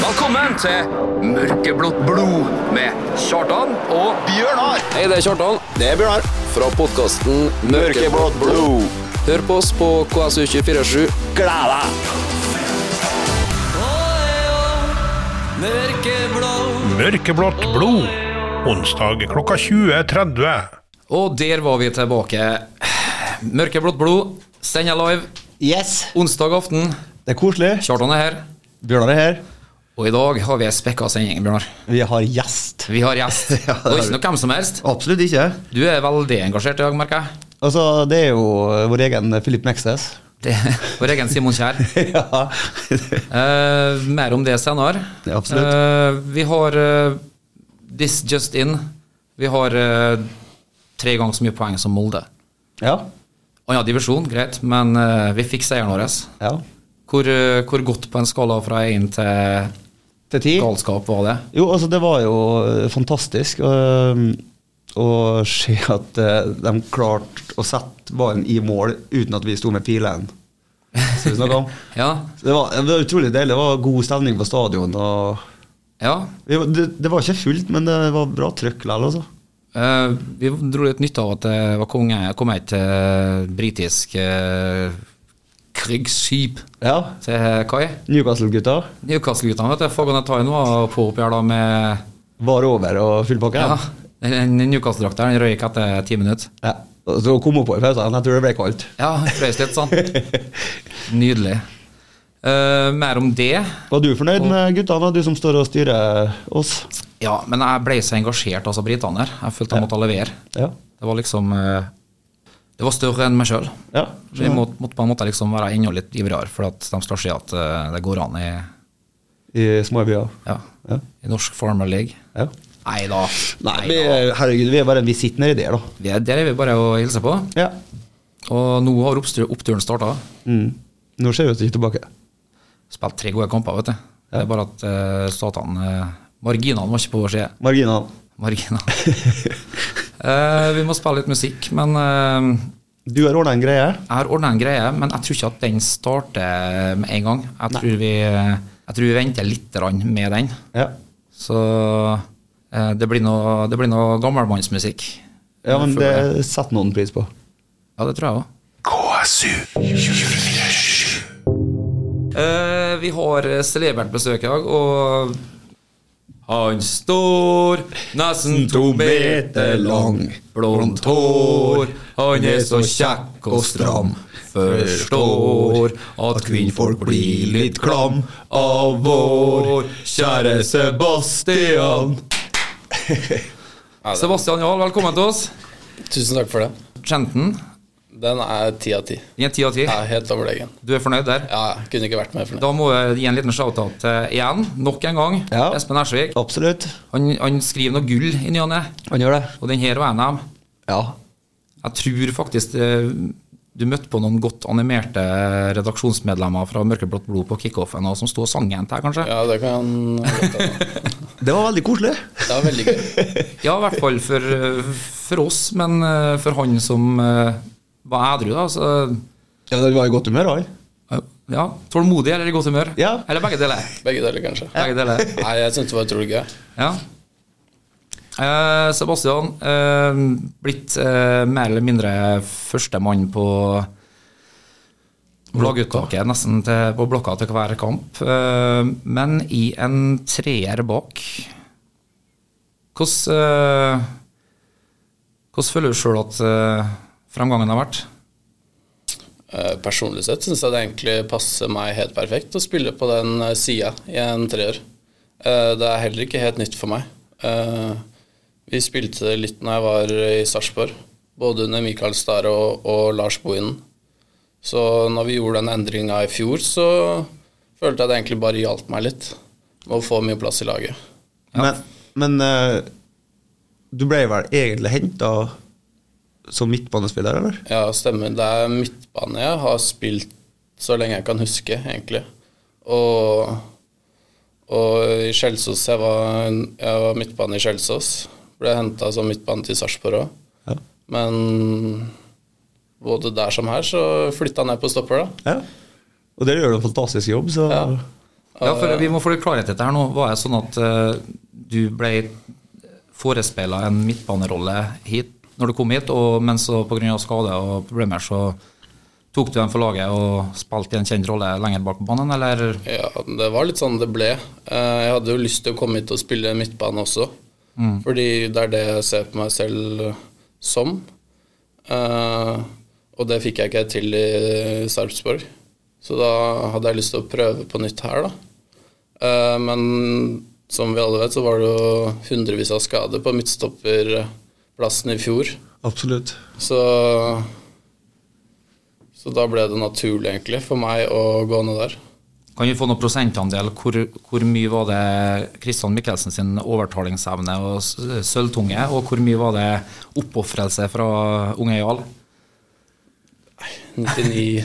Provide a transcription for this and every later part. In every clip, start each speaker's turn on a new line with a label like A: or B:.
A: Velkommen til Mørkeblått blod med Kjartan og
B: Bjørnar
C: Hei, det er Kjartan
B: Det er Bjørnar
C: fra podkasten
B: Mørkeblått blod
C: Hør på oss på KSU247.
B: Gled deg
D: Mørkeblått blod. Onsdag klokka 20.30.
C: Og der var vi tilbake. Mørkeblått blod, sender live
B: Yes
C: onsdag aften.
B: Det er koselig
C: Kjartan er her.
B: Bjørnar er her
C: Og i dag har vi ei spekka sending, Bjørnar.
B: Vi har gjest
C: Vi har gjest.
B: Ja, det har
C: og ikke
B: vi.
C: noe hvem som helst.
B: Absolutt ikke
C: Du er veldig engasjert i dag, merker jeg.
B: Altså, det er jo vår egen Philip Nexus
C: Det er Vår egen Simon Kjær.
B: Ja
C: Eh, mer om det senere.
B: Ja, absolutt.
C: Eh, vi har eh, This Just In. Vi har eh, tre ganger så mye poeng som Molde.
B: Ja
C: Annen divisjon, greit, men eh, vi fikk seieren vår.
B: Ja
C: Hvor, eh, hvor godt på en skala fra 1 til
B: Til ti
C: galskap var det?
B: Jo, altså, det var jo eh, fantastisk øh, Å se at eh, de klarte å sette ballen i mål Uten at vi sto med pilen Som vi snakket om
C: Ja.
B: Så det, var, det var utrolig deilig Det var god stemning på stadion og
C: ja.
B: Vi var- Det, det var ikke fullt, men det var bra trøkk likevel, altså.
C: Eh, vi dro litt nytte av at det var konge, kom et eh, britisk eh, krigsskip
B: Ja.
C: til kai.
B: Newcastle-gutta
C: Newcastle-guttene, vet du. Fagan Tain var på opp her da med
B: var over og full pakke.
C: Ja.
B: Ja.
C: Den Newcastle-drakta den røyk etter ti minutter.
B: Ja. Og Så kom hun på i pausen. Jeg tror det ble kaldt.
C: Ja, frøys litt sånn. Nydelig. Eh, mer om det.
B: Var du fornøyd med guttene, du som står og styrer oss?
C: Ja, men jeg ble så engasjert, altså, britene der. Jeg følte jeg måtte levere.
B: Ja.
C: Det var liksom eh, Det var større enn meg sjøl.
B: ja.
C: Så jeg måtte, måtte på en måte liksom være enda litt ivrigere, for at de skal se at eh, det går an i,
B: I små byer.
C: ja,
B: Ja.
C: i norsk Farmer League.
B: Ja.
C: Nei da.
B: Nei, vi, herregud, vi er bare en visitt nedi der, da.
C: Vi er, der er vi bare å hilse på.
B: Ja.
C: Og nå har oppstyr, oppturen starta.
B: Mm. Nå ser vi oss ikke tilbake.
C: Spilt tre gode kamper, vet du. Det er bare at uh, statene eh, Marginene var ikke på vår side.
B: Marginene.
C: Marginene. Eh, vi må spille litt musikk, men eh,
B: Du har ordna en greie.
C: Jeg har ordna en greie, men jeg tror ikke at den starter med en gang. Jeg tror, vi, eh, jeg tror vi venter litt grann med den.
B: Ja.
C: Så eh, det blir noe, det blir noe gammelmannsmusikk.
B: ja, men
C: Jeg føler
B: det setter noen pris på.
C: Ja, det tror jeg òg. vi har eh, celebert besøk i dag, og han står nesten to meter lang. Blondt hår. Han er så kjekk og stram. Forstår at kvinnfolk blir litt klam av vår kjære Sebastian. Sebastian Jahl, velkommen til oss.
E: Tusen takk for det.
C: Kjenten.
E: Den er ti av ti.
C: I en ti av ti.
E: Jeg er helt overlegen.
C: Du er fornøyd der?
E: Ja, jeg kunne ikke vært mer fornøyd.
C: Da må jeg gi en liten shout-out eh, igjen, nok en gang.
B: Ja.
C: Espen Ersvik.
B: Absolutt.
C: Han, han skriver noe gull i ny og ne,
B: Han gjør det.
C: og den her var en av dem.
B: Ja.
C: Jeg tror faktisk eh, du møtte på noen godt animerte redaksjonsmedlemmer fra Mørkeblått blod på kickoffen og som sto og sang en til, kanskje?
E: Ja, det kan godt hende.
B: Det var veldig koselig.
E: Det var veldig gøy.
C: Ja, i hvert fall for, eh, for oss, men eh, for han som eh, var edru, da. Så
B: Ja, det var i godt humør, han.
C: eh, ja, tålmodig eller i godt humør.
B: Ja.
C: Eller begge deler.
E: Begge deler, kanskje.
C: Begge deler.
E: Nei, jeg syntes det var utrolig gøy.
C: Ja. Eh, Sebastian, eh, blitt eh, mer eller mindre førstemann på laguttaket, nesten til, på blokka til hver kamp. Eh, men i en treer bak. Hvordan eh, Hvordan føler du sjøl at eh, fremgangen har vært?
E: Eh, Personlig sett syns jeg det egentlig passer meg helt perfekt å spille på den eh, sida i en treer. Eh, Det er heller ikke helt nytt for meg. Eh, Vi spilte det litt når jeg var i Sarpsborg, både under Mikael Stare og, og Lars Bohinen. Så når vi gjorde den endringa i fjor, så følte jeg det egentlig bare hjalp meg litt med å få mye plass i laget.
B: Men, men eh, du ble vel egentlig henta som midtbanespiller, eller?
E: Ja, stemmer. Det er midtbane jeg har spilt så lenge jeg kan huske, egentlig. Og, og i Skjelsås jeg var, jeg var midtbane i Skjelsås. Ble henta som midtbane til Sarpsborg òg.
B: Ja.
E: Men både der som her så flytta jeg ned på stopper, da.
B: ja. Og dere gjør jo en fantastisk jobb, så
E: Ja.
C: Ja, for Vi må få litt klarhet i dette. her nå. Var det sånn at eh, du ble forespeila en midtbanerolle hit når du kom hit, og, men så pga. skade og problemer så tok du den for laget og spilte i en kjent rolle lenger bak på banen, eller?
E: Ja, det var litt sånn det ble. Eh, Jeg hadde jo lyst til å komme hit og spille midtbane også, fordi det er det jeg ser på meg selv som. Eh, Og det fikk jeg ikke til i Sarpsborg, så da hadde jeg lyst til å prøve på nytt her, da. Eh, Men som vi alle vet, så var det jo hundrevis av skader på midtstopperplassen i fjor.
B: Absolutt.
E: Så, så da ble det naturlig, egentlig, for meg å gå ned der.
C: Kan vi få noen prosentandel? Hvor, hvor mye var det Kristian Mikkelsen sin overtalingsevne og s- sølvtunge, og hvor mye var det oppofrelse fra unge Jarl?
E: 99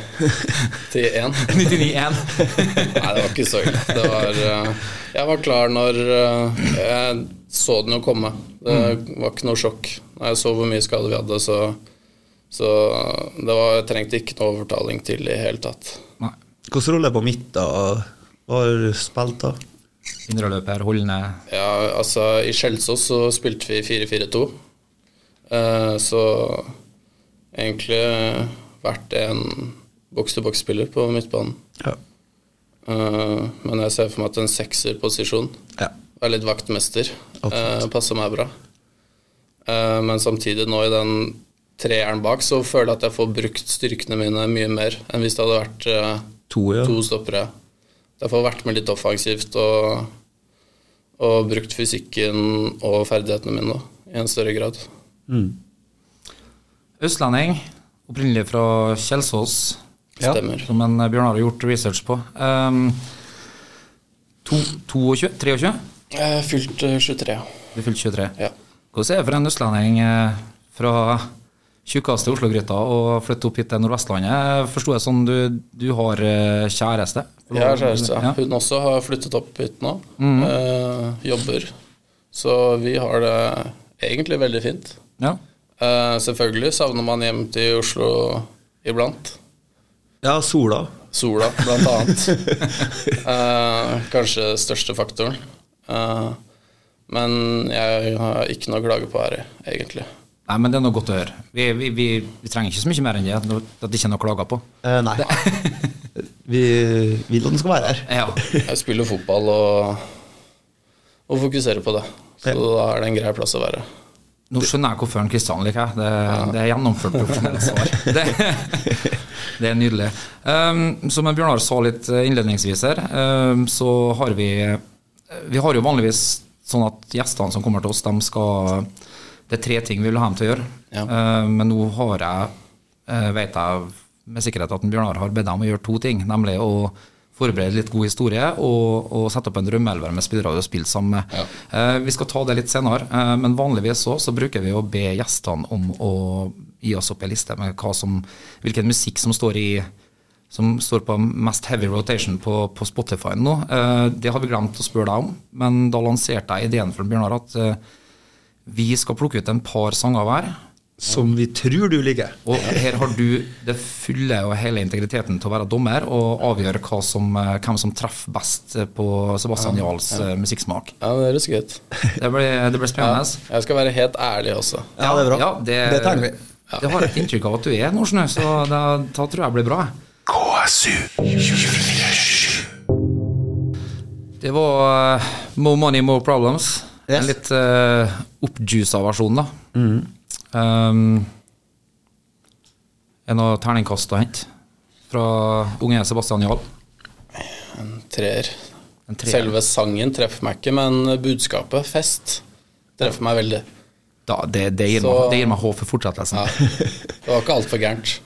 E: til 1.
C: 99-1.
E: Nei, det var ikke så ille. Det var, eh, jeg var klar når eh, jeg så den jo komme. Det var ikke noe sjokk. Når jeg så hvor mye skade vi hadde, så, så det var, jeg trengte ikke noe overtaling til i hele tatt.
C: Nei.
B: Hvilken rolle på midt da? Hva har du spilt da?
C: Indreløper, holdende
E: Ja, altså I Skjelsås så spilte vi 4-4-2. Eh, så egentlig vært en boks-til-boks-spiller på midtbanen.
B: Ja.
E: Eh, men jeg ser for meg at en sekserposisjon
B: ja.
E: Være litt vaktmester.
B: Absolutt.
E: Eh, passer meg bra. Eh, men samtidig, nå i den treeren bak, så føler jeg at jeg får brukt styrkene mine mye mer enn hvis det hadde vært eh,
B: To, ja.
E: to stoppere. Jeg får vært med litt offensivt og, og brukt fysikken og ferdighetene mine da, i en større grad.
C: Østlending, opprinnelig fra Kjelsås,
B: Ja.
E: Stemmer.
C: som en Bjørnar har gjort research på. Um, to, 22? 23?
E: Jeg fylte 23,
C: Du fylte 23.
E: ja.
C: Hvordan er det for en østlending eh, fra tjukkeste Oslo-gryta å flytte opp hit til Nordvestlandet? Forsto jeg sånn du, du har eh, kjæreste?
E: Jeg har kjæreste.
C: Ja.
E: ja. Hun også har flyttet opp hit nå.
B: Mhm.
E: Eh, jobber. Så vi har det egentlig veldig fint.
C: Ja.
E: Eh, selvfølgelig savner man hjem til Oslo iblant.
B: ja, Sola.
E: Sola, blant annet. Eh, kanskje største faktoren. Eh, men jeg har ikke noe å klage på her, egentlig.
C: Nei, men det er noe godt å høre. Vi, vi, vi, vi trenger ikke så mye mer enn det. At det ikke er noe å klage på.
B: Eh, nei. Vi vil at den skal være her.
C: Ja.
E: Jeg spiller fotball og, og fokuserer på det. Så da er det en grei plass å være.
C: Nå skjønner jeg hvorfor han Kristian liker jeg. Det, det er gjennomført profesjonelt svar. Det, det er nydelig. Um, som Bjørnar sa litt eh, innledningsvis her, um, så har vi eh, Vi har jo vanligvis sånn at gjestene som kommer til oss, de skal Det er tre ting vi vil ha dem til å gjøre.
E: Ja.
C: Uh, men nå har jeg, uh, vet jeg med sikkerhet at en Bjørnar har bedt dem å gjøre to ting. Nemlig å forberede litt god historie og, og sette opp en drømmeelver med spillere du har spilt sammen med. Eh, vi skal ta det litt senere, eh, men vanligvis så, så bruker vi å be gjestene om å gi oss opp en liste med hva som, hvilken musikk som står i som står på mest heavy rotation på, på Spotify nå. Eh, det har vi glemt å spørre deg om, men da lanserte jeg ideen for Bjørnar at eh, vi skal plukke ut en par sanger hver.
B: Som vi tror du liker.
C: Og her har du det fulle og hele integriteten til å være dommer og avgjøre hva som, eh, hvem som treffer best eh, på Sebastian Jarls eh, musikksmak.
E: Ja, det høres greit
C: Det blir, det blir
E: Ja,
C: spennende.
E: jeg skal være helt ærlig også.
B: Ja, det er bra.
C: Ja, det,
B: Det trenger vi.
C: Det har jeg et inntrykk av at du er nå, skjønner du, så da, da tror jeg det blir bra. Det var eh, More Money, More Problems.
B: Yes. Mm.
C: En litt uh, oppjuica versjon, da. Um, er det noe terningkast å hente fra unge Sebastian Jarl?
E: Treer.
C: En treer.
E: Selve sangen treffer meg ikke, men budskapet, fest, treffer meg veldig.
C: Da, det, det, gir
E: Så-
C: meg, det gir meg håp for fortsettelsen.
E: Ja. Det var ikke altfor gærent.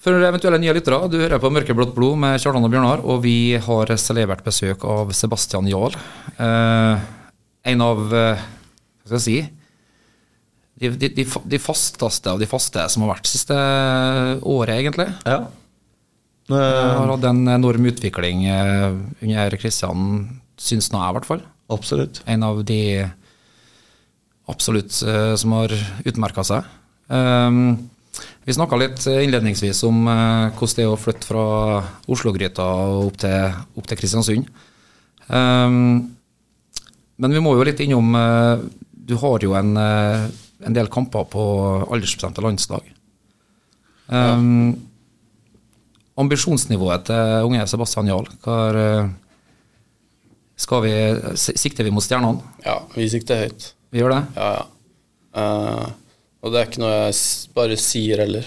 C: For eventuelle nye lyttere, du hører på Mørkeblått blod med Kjartan og Bjørnar, og vi har celebert besøk av Sebastian Jarl. Eh, en av eh, Hva skal jeg si de, de, de, fa- de fasteste av de faste som har vært siste året, egentlig.
B: Ja.
C: Han
B: Eh,
C: har hatt en enorm utvikling eh, under Kristian, syns nå jeg, i hvert fall.
B: absolutt.
C: En av de absolutt eh, som har utmerka seg. Um, Vi snakka litt innledningsvis om eh, hvordan det er å flytte fra Oslo-gryta og opp til, opp til Kristiansund. Ehm, men vi må jo litt innom eh, Du har jo en, eh, en del kamper på aldersbestemte landslag. Ehm, Ambisjonsnivået til unge Sebastian Jarl, hva er, eh, skal vi, s- sikter vi mot stjernene?
E: Ja, vi sikter høyt.
C: Vi gjør det?
E: Ja, ja. Eh, og det er ikke noe jeg s- bare sier heller.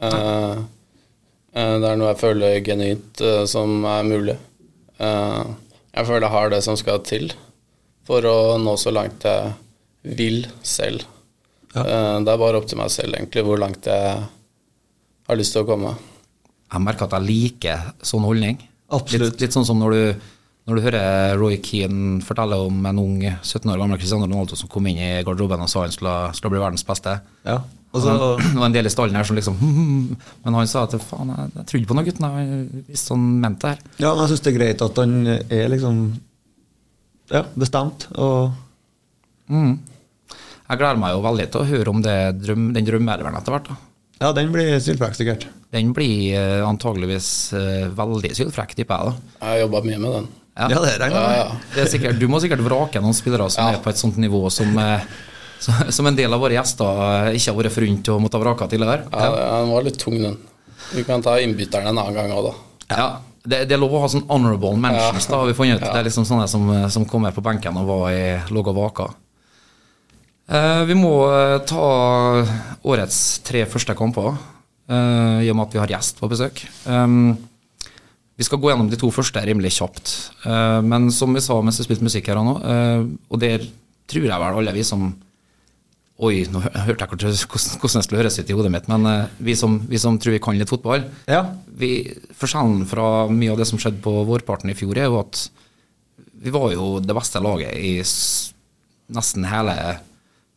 E: Eh, eh, det er noe jeg føler genuint eh, som er mulig. Eh, jeg føler jeg har det som skal til for å nå så langt jeg vil selv. Eh, det er bare opp til meg selv egentlig hvor langt jeg har lyst til å komme.
C: jeg merker at jeg liker sånn holdning.
B: Absolutt.
C: Litt, litt sånn som når du, når du hører Roy Keane fortelle om en ung 17 år gammel Cristiano Ronaldo som kom inn i garderoben og sa han skulle, skulle bli verdens beste.
B: Ja. Og så,
C: Og det var en del i stallen her som liksom «Hm, hm», Men han sa at faen, jeg, jeg trodde på noen gutten. Jeg visste han mente det her.
B: ja, men jeg syns det er greit at han er liksom ja, bestemt. Og
C: Mm. Jeg gleder meg jo veldig til å høre om det drøm, den drømmeelveren etter hvert. da.
B: ja, den blir sylfrekk, sikkert.
C: Den blir eh, antageligvis eh, veldig sylfrekk, tipper jeg. da.
E: Jeg har jobba mye med den.
B: Ja, det regner jeg med.
E: Ja, ja.
C: Det er sikkert, du må sikkert vrake noen spillere som
E: Ja.
C: er på et sånt nivå som, eh, som- som en del av våre gjester eh, ikke har vært forunt og måtte ha vraka tidligere.
E: Ja, den var litt tung, den. Vi kan ta innbytteren en annen gang òg, da.
C: Ja. Det, det er lov å ha sånn honorable mentions, da, har vi funnet ut. Det er liksom sånne som, eh, som kommer på benken og var i, lå og vaka. Eh, vi må eh, ta årets tre første kamper, eh, i og med at vi har gjest på besøk. Um, Vi skal gå gjennom de to første rimelig kjapt. Eh, men som vi sa mens vi spilte musikk her nå, eh, og der tror jeg vel alle vi som Oi, nå hø- hørte jeg hvordan- hvordan hvordan det skulle høres ut i hodet mitt, men eh, vi, som, vi som tror vi kan litt fotball
B: Ja.
C: vi, Forskjellen fra mye av det som skjedde på vårparten i fjor, er jo at vi var jo det beste laget i s nesten hele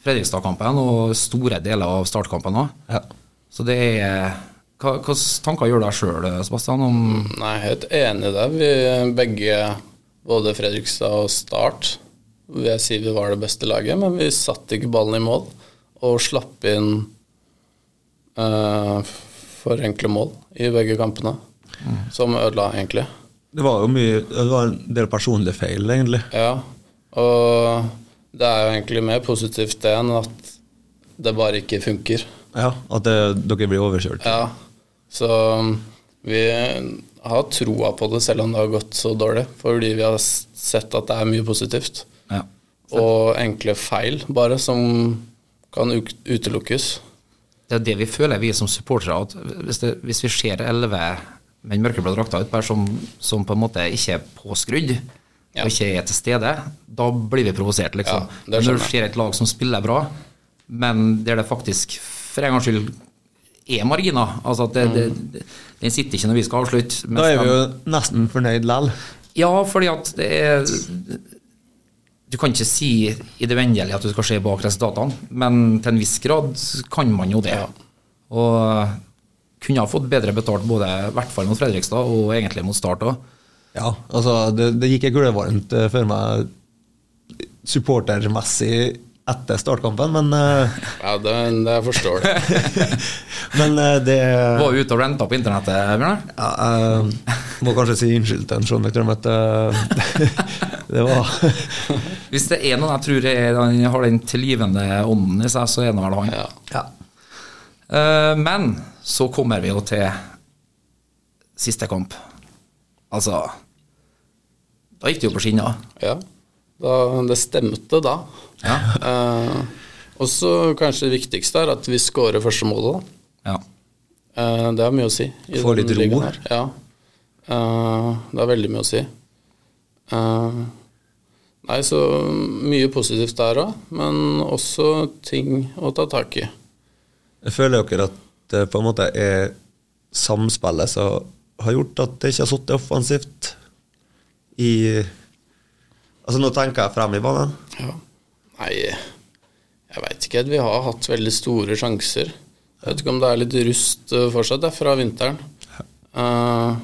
C: Fredrikstad-kampen og store deler av startkampen òg.
B: Ja.
C: Så det er hva, Hvilke tanker gjør du deg sjøl, Sebastian? Om,
E: Nei, jeg er helt enig i det. Vi begge, både Fredrikstad og Start, vil jeg si vi var det beste laget, men vi satte ikke ballen i mål og slapp inn eh, for enkle mål i begge kampene, som ødela, egentlig.
B: Det var jo mye Det var en del personlige feil, egentlig.
E: Ja, og det er jo egentlig mer positivt det enn at det bare ikke funker.
B: Ja, At det, dere blir overkjørt.
E: Ja, så um, vi har troa på det selv om det har gått så dårlig, fordi vi har s- sett at det er mye positivt.
C: ja.
E: Og enkle feil, bare, som kan uk- utelukkes.
C: Det er det vi føler, vi som supportere. at Hvis, det, hvis vi ser elleve menn mørkeblå drakter utpå her som, som på en måte ikke er påskrudd,
E: Ja.
C: og ikke er til stede, da blir vi provosert, liksom.
E: Ja, det
C: Men Når du
E: skjønner jeg.
C: ser et lag som spiller bra, men der det faktisk for en gangs skyld er marginer altså at det,
E: Mm.
C: det, Den sitter ikke når vi skal avslutte. mens
B: Da er vi
C: de-
B: jo nesten fornøyd lell.
C: ja, fordi at det er Du kan ikke si i det uendelige at du skal se bak resultatene, men til en viss grad kan man jo det.
E: Ja.
C: Og kunne ha fått bedre betalt både i hvert fall mot Fredrikstad og egentlig mot Start òg.
B: Ja, altså, det, det gikk jeg gulevarmt eh, for meg supportermessig etter startkampen, men, eh,
E: Ja, det, det jeg forstår det.
B: men eh, det
C: Var jo ute og renta på internettet, Bjørnar.
B: ja, Jeg må kanskje si unnskyld til en Sean McDermott. eh, Det var
C: Hvis det er noen jeg tror er, han har den tilgivende ånden i seg, så er det vel han.
E: Ja.
B: ja.
C: Eh, men så kommer vi jo til siste kamp. Altså Da gikk det jo på skinner.
E: Ja. Da, det stemte da.
C: Ja.
E: Eh, og så kanskje det viktigste er at vi scorer første målet, da.
C: Ja.
E: Eh, det har mye å si. i
B: Få
E: den
B: litt ro.
E: ligaen her. Ja. Eh, det har veldig mye å si. Eh, nei, så mye positivt der òg, men også ting å ta tak i.
B: Jeg føler dere at det på en måte er samspillet som har gjort at det ikke har sittet offensivt i Altså Nå tenker jeg frem i banen.
E: Ja. Nei, jeg veit ikke. Vi har hatt veldig store sjanser. Jeg vet ikke om det er litt rust eh, fortsatt det er fra vinteren. Eh,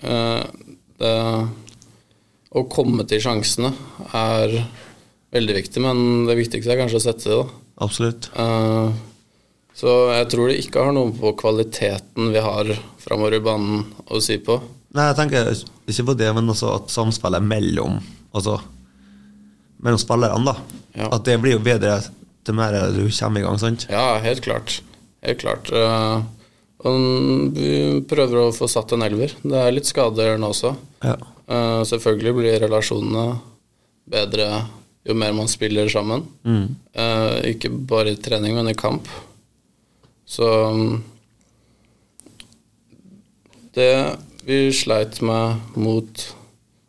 E: eh, det, å komme til sjansene er veldig viktig, men det viktigste er kanskje å sette det, da.
B: Absolutt.
E: Eh, Så jeg tror det ikke har noe på kvaliteten vi har framover i banen å si på.
B: Nei, jeg tenker ikke på det, men også at samspillet mellom Altså mellom spillerne, da.
E: Ja.
B: At det blir jo bedre til mer du kommer i gang, sant?
E: Ja, helt klart. Helt klart. Eh, Og vi prøver å få satt en elver. Det er litt skader nå også.
B: Ja.
E: Eh, Selvfølgelig blir relasjonene bedre jo mer man spiller sammen. Eh, Ikke bare i trening, men i kamp. Så mm, Det vi sleit med mot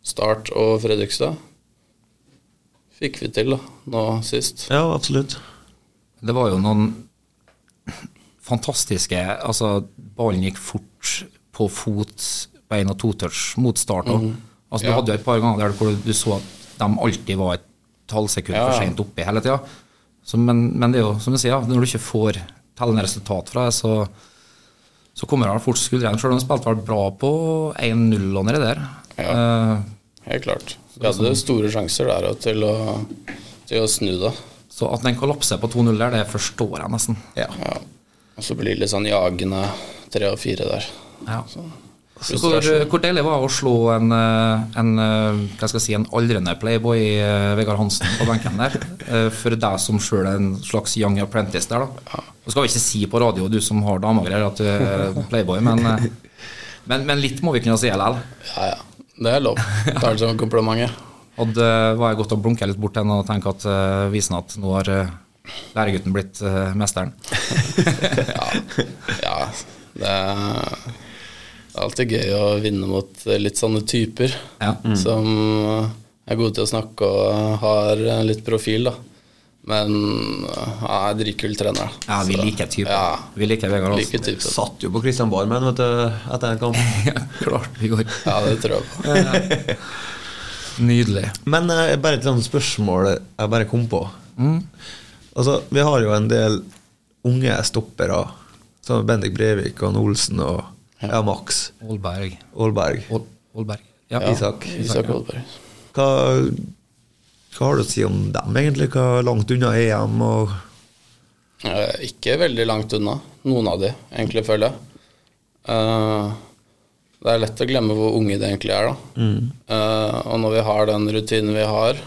E: Start og Fredrikstad, fikk vi til da, nå sist.
B: ja, absolutt.
C: Det var jo noen fantastiske Altså, ballen gikk fort på fot, bein og totouch mot start òg. Altså, du
E: Mm. Ja.
C: hadde jo et par ganger der hvor du så at de alltid var et halvsekund
E: Ja.
C: for sent oppe hele tida. Så, men, men det er jo som du sier, ja, når du ikke får tellende resultat fra det, så så kommer han fort skuldrene, selv om han spilte vel bra på 1-0 og nedi der. Eh,
E: Helt klart. Vi hadde store sjanser der også til å, til å snu det.
C: så at den kollapser på 2-0 der, det forstår jeg nesten.
B: Ja.
E: Ja. Og så blir det litt sånn jagende tre og fire der.
C: Ja. Hvor,
E: Frustrasjon.
C: hvor deilig var det å slå en, eh, en, eh, hva skal jeg si, en aldrende playboy, eh, Vegard Hansen, på benken der? eh, For deg som sjøl er en slags young apprentice der, da. Du skal jo ikke si på radio, du som har dame og greier, at du er playboy, men, eh, men, men litt må vi kunne si likevel.
E: Ja, ja. Det er lov. Tar det som en kompliment. jeg.
C: Og det var jeg godt å blunke litt bort til og tenke at eh, visen at nå har eh, læregutten blitt eh, mesteren.
E: Ja, det er det er alltid gøy å vinne mot litt sånne typer
C: Ja.
E: som er gode til å snakke og har litt profil, da. Men ja, jeg er dritkul trener. da.
C: Ja, vi
E: Så-
C: liker typen.
E: Ja,
C: Vi liker Vegard
E: liker
C: Hansen.
E: typen.
B: Satt jo på Christian Barmen vet du, etter en kamp.
C: Ja, klart vi går.
E: Ja, det tror jeg på.
C: Nydelig.
B: Men eh, bare et sånt spørsmål jeg bare kom på.
C: Mm.
B: Altså, Vi har jo en del unge stoppere, som Bendik Brevik og han Olsen og ja, Max
C: Aalberg.
B: Aalberg.
C: Ål- Aalberg. Ja.
E: Ja,
B: Isak.
E: Isak Holberg.
B: Hva, hva har du å si om dem, egentlig? Hva langt unna EM og
E: Eh, Ikke veldig langt unna. Noen av de, egentlig, føler jeg. Eh, det er lett å glemme hvor unge de egentlig er, da. Eh, og når vi har den rutinen vi har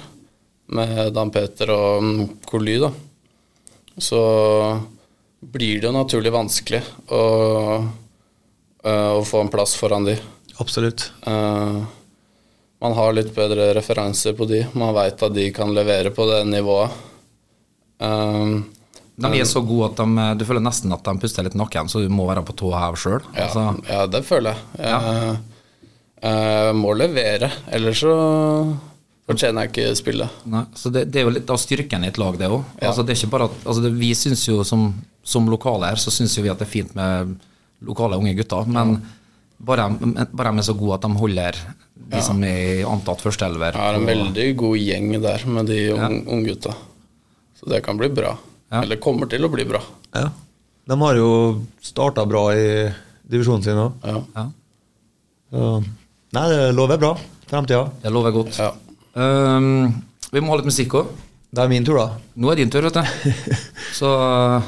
E: med Dan Peter og mm, Coly, da, så blir det jo naturlig vanskelig å, eh, å få en plass foran de.
B: Absolutt.
E: Eh, man har litt bedre referanser på de. Man veit at de kan levere på det nivået. Eh,
C: De er så gode at de, du føler nesten at de puster litt nakken, så du må være på tå hev sjøl.
E: Ja,
C: Altså,
E: ja, det føler jeg. Jeg, eh, jeg må levere, ellers så fortjener jeg ikke spillet.
C: nei, så det, det er jo litt av styrken i et lag, det òg. Altså, det er ikke bare at altså, det, Vi syns jo som, som lokale her, så syns jo vi at det er fint med lokale unge gutter, men bare, men bare de er så gode at de holder de som er i antatt førsteelver.
E: Jeg har en veldig god gjeng der med de ung- unggutta. så det kan bli bra.
C: Ja.
E: Eller kommer til å bli bra.
B: Ja. De har jo starta bra i divisjonen sin òg.
E: Ja.
C: Ja,
B: Nei, det lover bra. Fremtida.
C: det lover godt.
E: Ja.
C: Ehm, vi må ha litt musikk òg.
B: Det er min tur, da.
C: Nå er din tur, vet du. Så eh,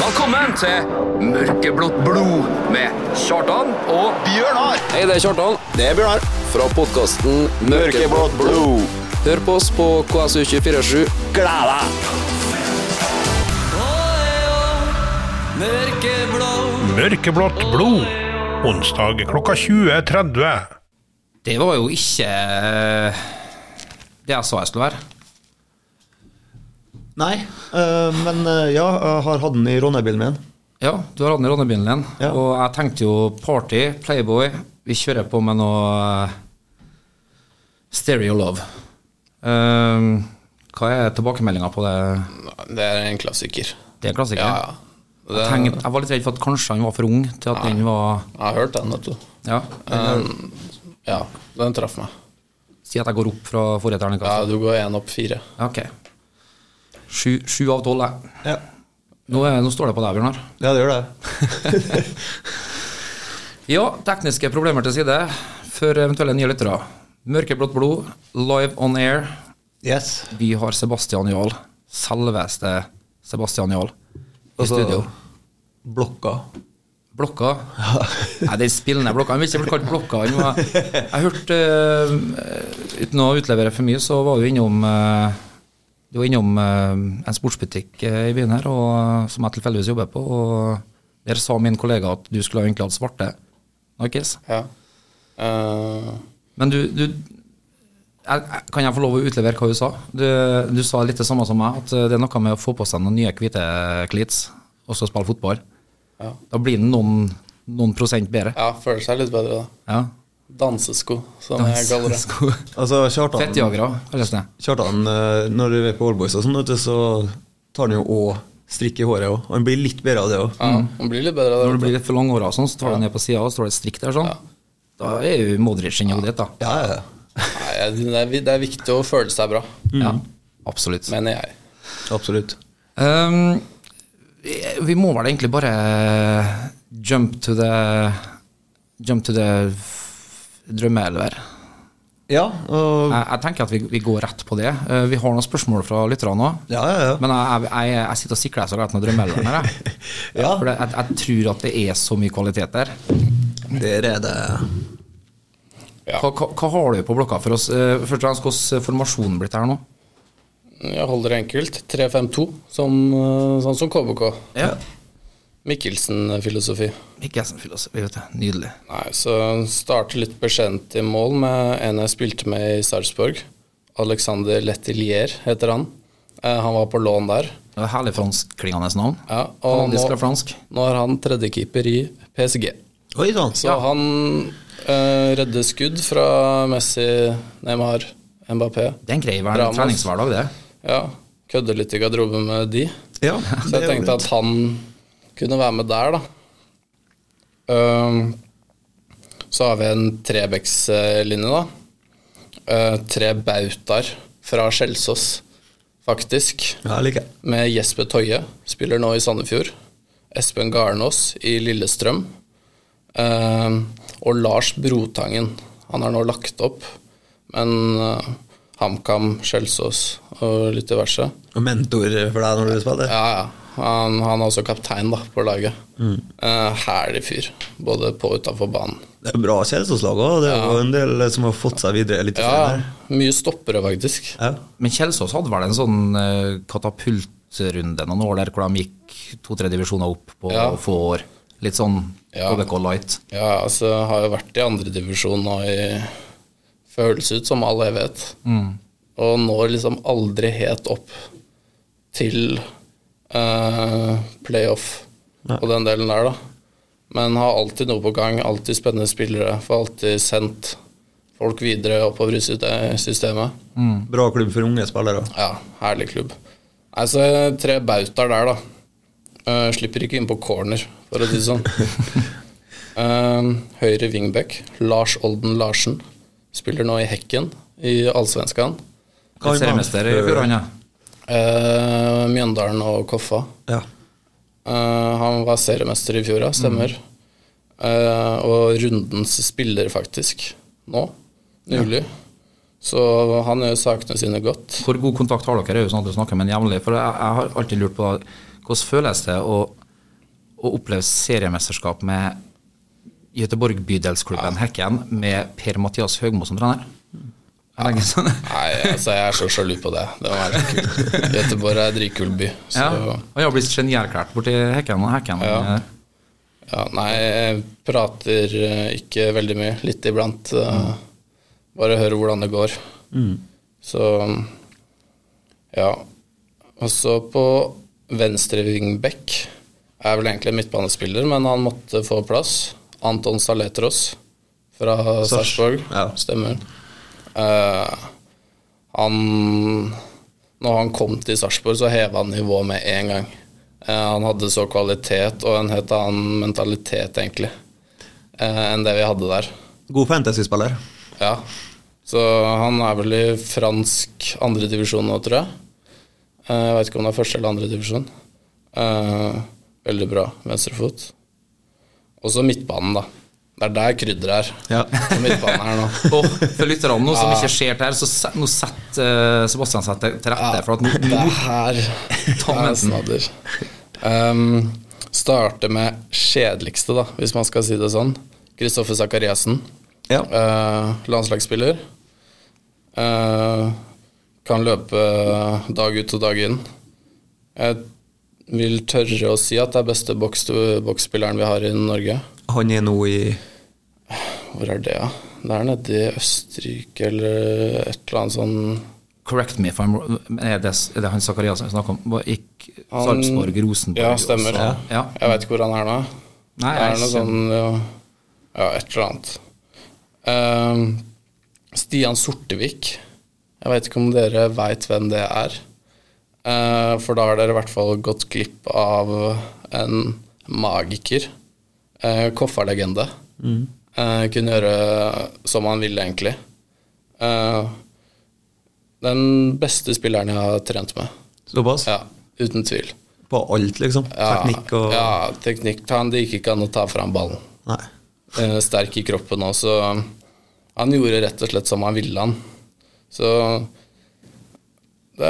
A: Velkommen til Mørkeblått blod med Kjartan og Bjørnar.
F: Hei, det er Kjartan. Det er Bjørnar. Fra podkasten Mørkeblått blod. Hør på oss på KSU247.
D: Mørkeblått blod. Onsdag klokka 20.30.
C: det var jo ikke eh, det jeg sa jeg skulle være.
B: Nei, eh, men eh, ja, jeg har hatt den i ronnebilen min.
C: Ja, du har hatt den i ronnebilen din.
B: Ja.
C: Og jeg tenkte jo party, playboy. Vi kjører på med noe eh, stereo love. Ehm, hva er tilbakemeldinga på det?
E: Det er en klassiker.
C: Det er en klassiker.
E: Ja, ja. Det,
C: Jeg, tenkte, jeg var litt redd for at kanskje han var for ung til at den var
E: jeg har hørt den, vet du. Um,
C: Ja, eh.
E: Ja, den traff meg.
C: si at jeg går opp fra forrige
E: Ja,
C: terningkast.
E: du går én opp fire.
C: Ok. Sju, sju av tolv, jeg.
B: Ja,
C: Nå, er, nå står det på deg, Bjørnar.
B: ja det gjør det.
C: Ja, tekniske problemer til side for eventuelle nye lyttere. Mørkeblått blod, live on air.
B: Yes.
C: Vi har Sebastian Jahl. selveste Sebastian Jahl i
B: Altså-
C: studio.
B: Blokka.
C: Blokka? Nei, den spillende blokka. Han vil ikke bli kalt blokka. Han var, jeg hørte eh, Uten å utlevere for mye, så var du innom eh, Du var innom eh, en sportsbutikk eh, i byen her, og, som jeg tilfeldigvis jobber på. Og der sa min kollega at du skulle ha egentlig hatt svarte narkis.
E: Ja. Eh,
C: Men du, du jeg, jeg- Kan jeg få lov å utlevere hva du sa? Du, du sa litt det samme som meg, at eh, det er noe med å få på seg noen nye hvite klits og så spille fotball.
E: Ja.
C: Da blir den noen, noen prosent bedre.
E: ja, føler seg litt bedre, da.
C: Ja.
E: Dansesko, som jeg kaller det.
C: Sko.
B: Altså, Kjartan,
C: Fettjagere, kalles det.
B: Kjartan eh, når du er på Allboys og sånn, vet du, så tar han jo òg strikk i håret òg. Han blir litt bedre av det òg.
E: Ja, man blir litt bedre av det.
C: Mm. Når du
E: vet du.
C: blir litt for langhåra, sånn, så tar du ned på sida, og så står det et strikk der sånn. Da er jo Modric en god diett, da.
B: Ja, ja.
E: Nei, jeg- det, er, vi- det er viktig å føle seg bra,
C: Ja, Mm. absolutt.
E: mener jeg.
B: Absolutt.
C: Um, vi må vel egentlig bare jump to the Jump to the f- drømmeelver.
B: Ja, og
C: Jeg, jeg tenker at vi, vi går rett på det. Eh, vi har noen spørsmål fra lytterne òg.
B: Ja, ja, ja.
C: Men jeg, jeg, jeg, jeg sitter og sikler så godt med drømmeelveren her. Jeg.
B: Ja.
C: For det, jeg, jeg tror at det er så mye kvalitet der.
B: Der er det
E: Ja.
C: Hva, hva, hva har du på blokka for oss? Eh, Først og fremst, hvordan formasjonen blitt her nå?
E: Jeg holder det enkelt. 3-5-2, som, eh, sånn som KBK.
C: Ja.
E: Mikkelsen-filosofi.
C: Mikkelsen-filosofi, vet du. Nydelig.
E: Nei, så starte litt beskjedent i mål med en jeg spilte med i Sarpsborg. Alexander Letelier heter han. Eh, Han var på lån der.
C: Det er Herlig franskklingende navn.
E: Ja, og
C: Hollandisk
E: nå,
C: eller fransk?
E: nå er han tredjekeeper i PSG.
B: Oi sånn. sann!
E: Så han eh, redder skudd fra Messi, Neymar, Mbappé.
C: Det er en grei hver-
E: Ramos.
C: treningshverdag, det.
E: Ja, kødder litt i garderoben med de.
B: Ja,
E: Så jeg tenkte at han kunne være med der, da. Ehm, så har vi en trebekslinje, da. Eh, tre bautaer fra Skjelsås, faktisk.
B: Ja, jeg liker det.
E: Med Jesper Toje, spiller nå i Sandefjord. Espen Garnås i Lillestrøm. Eh, og Lars Brotangen. Han er nå lagt opp, men eh, HamKam, Skjelsås og litt diverse.
B: Og mentor for deg når du spiller?
E: Ja, ja. Han, han er også kaptein da, på laget. Eh, Herlig fyr, både på og utafor banen.
B: Det er bra kjæresteskapslag òg. Det er jo en del som har fått seg videre litt
E: Ja, mye stoppere, faktisk.
B: senere.
C: Men Kjelsås hadde vel en sånn eh, katapultrunde noen år der hvor de gikk to-tre divisjoner opp på
E: Ja.
C: få år. Litt sånn
E: Ja.
C: KBK Light.
E: Ja, altså, har jo vært i andredivisjon nå i Føles ut som all evighet. Og når liksom aldri helt opp til eh, playoff og den delen der, da. Men har alltid noe på gang, alltid spennende spillere. Får alltid sendt folk videre oppover i syste- systemet.
B: Ja. Bra klubb for unge spillere òg.
E: Ja, herlig klubb. Altså, tre bautaer der, da. Eh, slipper ikke inn på corner, for å si det sånn. Eh, høyre wingback, Lars Olden Larsen. Spiller nå i Hekken i Allsvenskan.
B: Kan man
C: Seriemester i
B: før-
C: fjor, han, ja.
E: Eh, Mjøndalen og Koffa.
B: Ja.
E: Eh, han var seriemester i fjor, ja. Stemmer. Eh, og rundens spiller, faktisk. Nå. Nylig. Så han gjør sakene sine godt.
C: Hvor god kontakt har dere? er jo sånn at du snakker med en jevnlig. For jeg, jeg har alltid lurt på hvordan føles det å, å oppleve seriemesterskap med Göteborg bydelsklubben Hekken med Per-Mathias Høgmo som trener? Er det ikke sånn?
E: Nei, altså jeg er så sjalu på det. Det var så kult. Göteborg er en dritkul by. Så
C: Ja.
E: ja.
C: Og jeg har blitt genierklært borti Hekken. og Hekken. Eh,
E: Ja. Nei, jeg prater eh, ikke veldig mye. Litt iblant. eh, Bare hører hvordan det går. Så ja. Og så på venstre wingback er vel egentlig en midtbanespiller, men han måtte få plass. Anton Saletros fra Sarpsborg.
B: ja.
E: Stemmer. Eh, han Når han kom til Sarpsborg, så heva han nivået med en gang. Eh, han hadde så kvalitet og en helt annen mentalitet, egentlig, eh, enn det vi hadde der.
B: God fantasyspiller.
E: Ja. Så han er vel i fransk andredivisjon nå, tror jeg. Eh, Jeg vet ikke om det er første eller Eh, andredivisjon. Veldig bra venstrefot. Og så midtbanen, da. Det er der krydderet er.
B: Ja.
E: På midtbanen her nå.
C: Og for lytterne nå, som ikke ser det her, så set, nå setter eh, Sebastian seg til til rette. For at nå,
E: Det
C: nå
E: her er
C: Tommensen.
E: snadder. Um, starte med kjedeligste, da, hvis man skal si det sånn. Kristoffer Sakariassen.
B: Ja.
E: Eh, landslagsspiller. Eh, kan løpe eh, dag ut og dag inn. Jeg vil tørre å si at det er beste boks- boksspilleren vi har i Norge.
G: Han er nå i
E: Hvor er det, da? Det er nede i Østerrike eller et eller annet sånn
C: Correct me if I'm wrong. Er det, er det han Sakariassen vi snakker om? Hva Gikk
E: Han-
C: Sarpsborg, Rosenborg altså.
E: Ja, stemmer.
C: også? Ja.
E: Jeg veit ikke hvor han er nå.
C: Nei,
E: det er
C: jeg
E: noe
C: ser-
E: sånn ja, ja, et eller annet. Ehm, Stian Sortevik. Jeg veit ikke om dere veit hvem det er. Eh, for da har dere i hvert fall gått glipp av en magiker. Uh, Koffa-legende.
C: Mm.
E: Eh, kunne gjøre som han ville, egentlig. Eh, den beste spilleren jeg har trent med.
G: såpass?
E: Ja, uten tvil.
G: På alt, liksom? Teknikk og
E: Ja, teknikk. Han, det gikk ikke an å ta fram ballen.
G: Nei.
E: Eh, sterk i kroppen òg, så han gjorde rett og slett som han ville, han. Så det,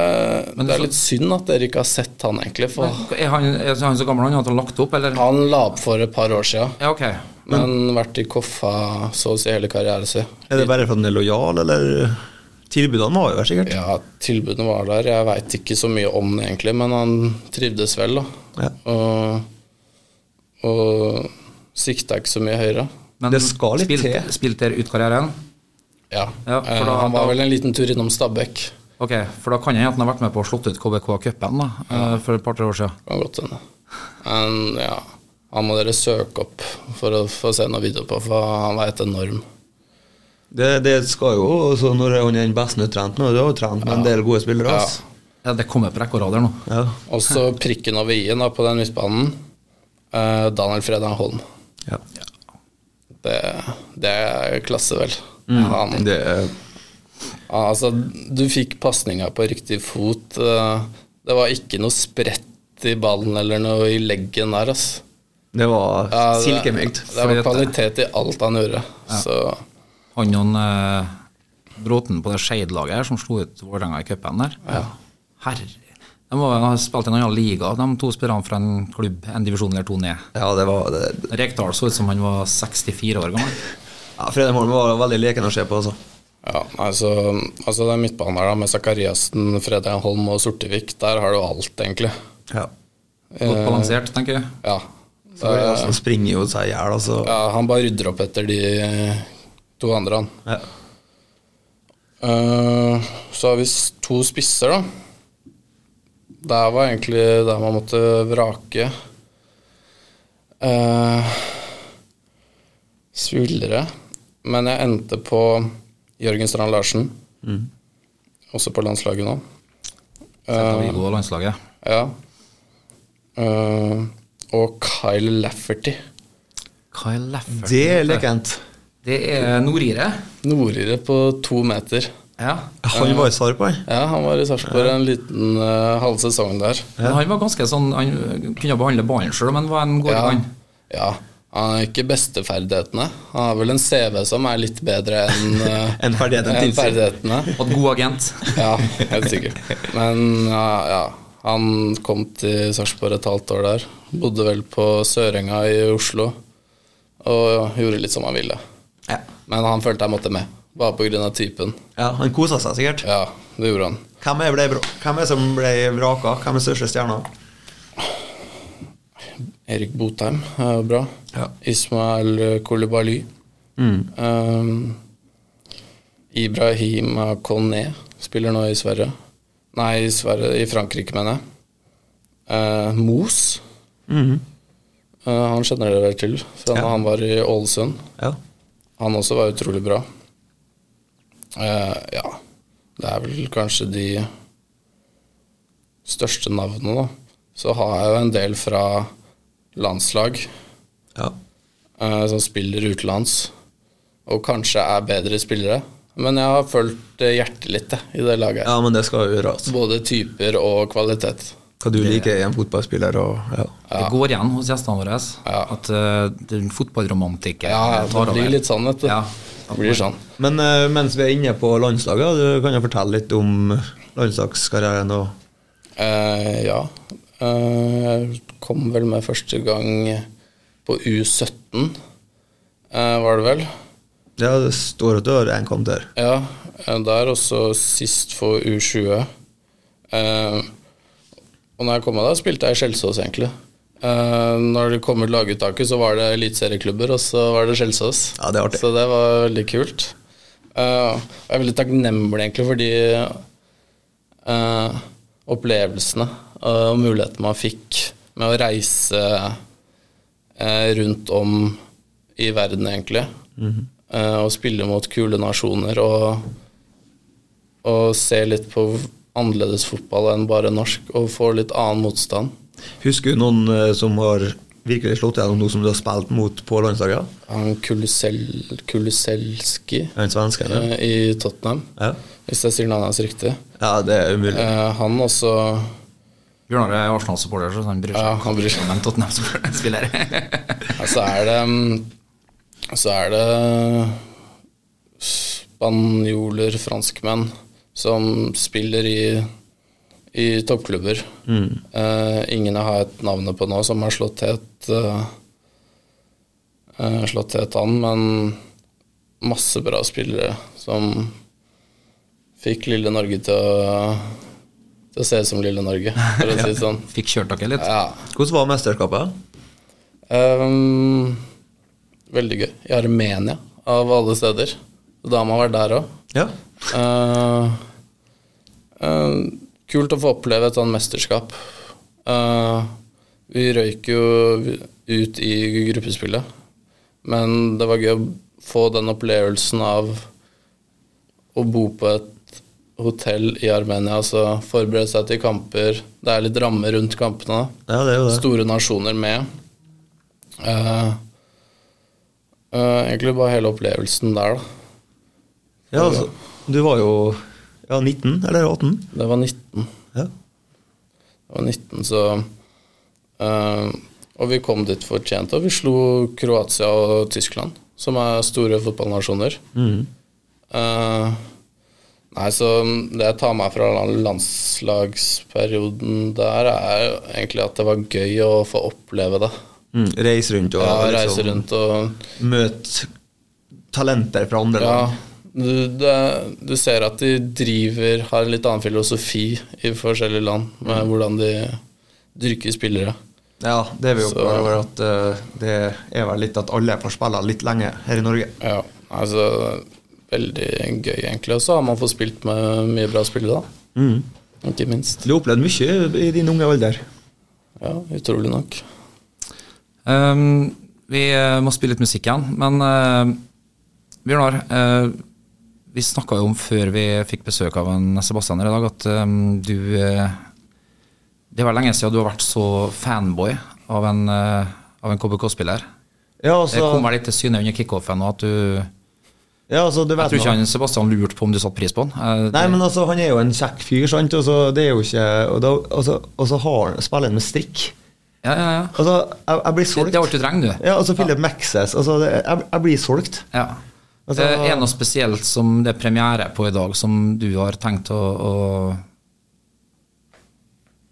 E: det er litt synd at dere ikke har sett han, egentlig. For
C: Er han, er han så gammel han at han har lagt opp, eller?
E: han la opp for et par år sia,
C: Ja, ok.
E: men vært i Koffa så å si hele karrieren sin.
G: Er det bare for at han er lojal, eller Tilbudene var jo der, sikkert.
E: Ja, tilbudene var der. Jeg veit ikke så mye om det, egentlig, men han trivdes vel, da.
G: Ja.
E: Og, og sikta ikke så mye høyere.
C: Men
G: Det skal litt
C: spilt,
G: til.
C: Spilt dere ut karrieren?
E: Ja.
C: Ja, for
E: Eh,
C: da-
E: han var
C: da-
E: vel en liten tur innom Stabæk.
C: Ok, for da kan jeg at han har vært med på å slått ut KBK-cupen da, eh, for et par-tre år siden.
E: Kan godt hende. Men ja, han må dere søke opp for å få se noe video på, for han var helt enorm.
G: Det, det skal jo så Når han er den beste utrent nå, du har jo trent med en del gode spillere, ass.
C: Ja, det kommer på rekke og rader nå.
G: Ja.
E: Og så prikken over i-en da, på den midtbanen. Eh, Daniel Fredan Holm.
G: Ja.
E: Det, det er klasse, vel.
C: Mm.
E: Han,
G: Det er
E: altså, du fikk pasninga på riktig fot. eh, Det var ikke noe sprett i ballen eller noe i leggen der, altså.
G: Det var
E: Ja, det-
G: silkemykt.
E: Det var kvalitet i alt han gjorde. Så
C: Han og han, eh, Bråten på det Skeid-laget her som slo ut Vålerenga i cupen der. Herre De var, har spilt i en annen liga, de to spillerne fra en klubb, en divisjon eller to ned.
G: Ja, det var det.
C: Rekdal så ut som han var 64 år gammel.
G: Ja, Fredrik Holm var veldig leken å se på, altså.
E: Ja, altså, altså den midtbanen her da, med Zakariassen, Fredheim Holm og Sortevik, der har du alt, egentlig. Eh,
G: Ja.
C: Godt
G: Eh,
C: balansert, tenker jeg.
E: Ja.
G: Så var det altså, han springer jo seg i hjel, altså.
E: ja, han bare rydder opp etter de eh, to andre, han.
G: Ja.
E: Eh, så har vi s- to spisser, da. Der var egentlig der man måtte vrake. Uh, svulere. Men jeg endte på Jørgen Strand Larsen. Også på landslaget nå.
G: eh,
C: Celta Vigo og landslaget.
E: Ja. Eh, og Kyle Lafferty.
C: Kyle Lafferty.
G: Det er lekent.
C: Det er nordire.
E: Nordire på to meter.
C: Ja.
G: Han var i Sarp, han.
E: Ja, han var i Sarpsborg en liten eh, halv sesong der.
C: Men Han var ganske sånn, han kunne behandle ballen sjøl, men var en god
E: Ja.
C: gang.
E: ja. Han har ikke besteferdighetene. Han har vel en CV som er litt bedre enn eh,
G: En ferdighet en
E: enn
G: tilsier.
E: ferdighetene.
C: Hatt god agent.
E: Ja, helt sikkert. Men ja, ja. Han kom til Sarpsborg et halvt år der. Bodde vel på Sørenga i Oslo. Og gjorde litt som han ville.
G: Ja.
E: Men han følte jeg måtte med, bare pga. typen.
G: ja, han kosa seg sikkert.
E: Ja, det gjorde han.
G: Hvem er, ble, bra- hvem er som ble vraka? Hvem er største stjerna?
E: Erik Botheim er jo bra.
G: Ja.
E: Ismael Kolibaly. Um, Ibrahim Koné spiller nå i Sverige. Nei, i, Sverige, i Frankrike, mener jeg. Uh, Mos. Eh, han kjenner dere vel til fra da han var i Ålesund.
G: Ja.
E: Han også var utrolig bra. Eh, ja, det er vel kanskje de største navnene, da. Så har jeg jo en del fra landslag
G: ja.
E: eh, som spiller utenlands, og kanskje er bedre spillere. Men jeg har fulgt eh, hjertet litt jeg, i det laget.
G: Ja, men det skal jo gjøres.
E: Både typer og kvalitet.
B: Hva du liker i en fotballspiller og ja.
C: Det går igjen hos gjestene våre at eh, den fotballromantikken
E: Ja, ja,
C: tar
E: det blir
C: over.
E: litt sånn, vet du.
C: Ja.
E: Det blir sånn.
B: Men eh, mens vi er inne på landslaget, du kan jo fortelle litt om landslagskarrieren og
E: Eh, ja. Eh, jeg kom vel med første gang på U17, eh, var det vel.
B: Ja, det står at du har én kamp der.
E: Ja, eh, der også sist for U20. Eh, og når jeg kom meg da, spilte jeg i Skjelsås, egentlig. Eh, når det kom ut laguttaket, så var det eliteserieklubber, og så var det Skjelsås.
B: Ja, det er artig.
E: Så det var veldig kult. Eh, og jeg er veldig takknemlig, egentlig, for de eh, opplevelsene eh, og mulighetene man fikk med å reise eh, rundt om i verden, egentlig. Eh, og spille mot kule nasjoner og, og se litt på annerledes fotball enn bare norsk, og få litt annen motstand.
B: Husker du noen eh, som har virkelig slått gjennom noe som du har spilt mot på landslaget?
E: Han Kulusel, Kuliselski
B: Er han svensk, eller?
E: eh, i Tottenham,
B: Ja.
E: hvis jeg sier navnet hans riktig.
B: ja, det er umulig.
E: Eh, han også
C: Bjørnar er Arsenal-supporter, så han bryr seg
E: Ja,
C: ikke
E: han bryr seg.
C: om en Tottenham-spiller.
E: Så er det mm, Så er det spanjoler, franskmenn, som spiller i, i toppklubber. Eh, ingen jeg har et navn på nå, som har slått het eh, eh, Slått het han, men masse bra spillere som fikk lille Norge til å, til å se ut som lille Norge, for å si det sånn.
C: Fikk kjørt dere litt.
E: Ja.
B: Hvordan var mesterskapet?
E: Ehm, veldig gøy. I Armenia, av alle steder. Da må man være der òg.
B: Ja.
E: ehm, kult å få oppleve et sånt mesterskap. Eh, vi røyk jo ut i gruppespillet, men det var gøy å få den opplevelsen av å bo på et hotell i Armenia, altså forberede seg til kamper. Det er litt rammer rundt kampene. da
B: ja, det er jo det.
E: store nasjoner med. Eh, eh, egentlig bare hele opplevelsen der, da.
B: Ja, altså, du var jo ja, 19 eller 18?
E: Det var 19.
B: Ja.
E: Det var 19, så eh, Og vi kom dit fortjent, og vi slo Kroatia og Tyskland, som er store fotballnasjoner. Eh, nei, så um, det jeg tar meg fra land- landslagsperioden der, er jo egentlig at det var gøy å få oppleve det.
B: Mm, reise rundt og
E: Ja,
B: liksom,
E: reise rundt og
B: møte talenter fra andre
E: Ja,
B: land.
E: du, det, du ser at de driver har en litt annen filosofi i forskjellige land med hvordan de dyrker spillere.
B: Ja, det er vi jo
E: Så-
B: klar over at eh, det er vel litt at alle får spille litt lenge her i Norge.
E: Ja, altså Veldig gøy, egentlig. Og så har man fått spilt med mye bra spillere, da.
B: Mm.
E: Ikke minst.
B: Du har opplevd mye i din unge alder.
E: Ja, utrolig nok.
C: Ehm, vi eh, må spille litt musikk igjen, men eh, Bjørnar, eh, vi snakka jo om før vi fikk besøk av en Sebastian her i dag, at eh, du eh, Det var lenge siden du har vært så fanboy av en, eh, av en KBK-spiller.
B: Ja,
C: Det
B: altså,
C: kom vel litt til syne under kickoffen, og at du
B: ja, altså du
C: Jeg
B: vet
C: tror ikke
B: nå.
C: han Sebastian lurte på om du satte pris på han. Eh,
B: Nei, men altså, han er jo en kjekk fyr, sant? Og så det er jo ikke Og, da, altså, og så har han spiller han med strikk.
C: ja, ja, ja.
B: Altså, jeg, jeg blir
C: Det,
B: solgt.
C: det er alt du trenger, du.
B: Ja, altså Philip Maxes. Altså, det, jeg, jeg blir solgt.
C: Ja.
B: Altså-
C: det er noe spesielt som det er premiere på i dag, som du har tenkt å, å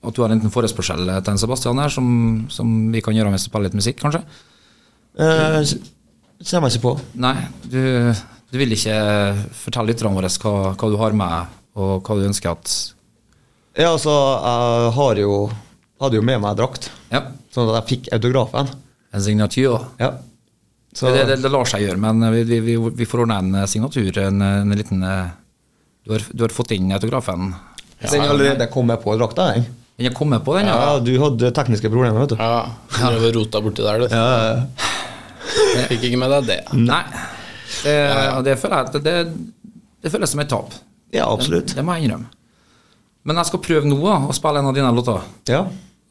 C: At du har enten forespørsel til en Sebastian her, som, som vi kan gjøre hvis du spiller litt musikk, kanskje?
B: Eh, kommer jeg ikke på.
C: Nei, du, du vil ikke fortelle lytterne våre hva, hva du har med, og hva du ønsker at
B: Ja, altså, jeg har jo, hadde jo med meg drakt,
C: Ja,
B: sånn at jeg fikk autografen.
C: en signatur.
B: Ja. Så,
C: Det, det, det lar seg gjøre, men vi, vi, vi, vi får ordna en eh, signatur, en, en liten eh, du har, du har fått inn autografen?
B: den er allerede kommet på drakta, den.
C: Den er kommet på, den, ja?
B: Ja, du hadde tekniske problemer, vet du.
E: Ja, du Drev og rota borti der, du.
B: Ja,
E: Fikk ikke med deg det.
C: Nei. Det, og det føler jeg at det, det føles som et tap.
B: ja absolutt.
C: Det må jeg innrømme. Men jeg skal prøve nå da, å spille en av dine låter.
B: Ja.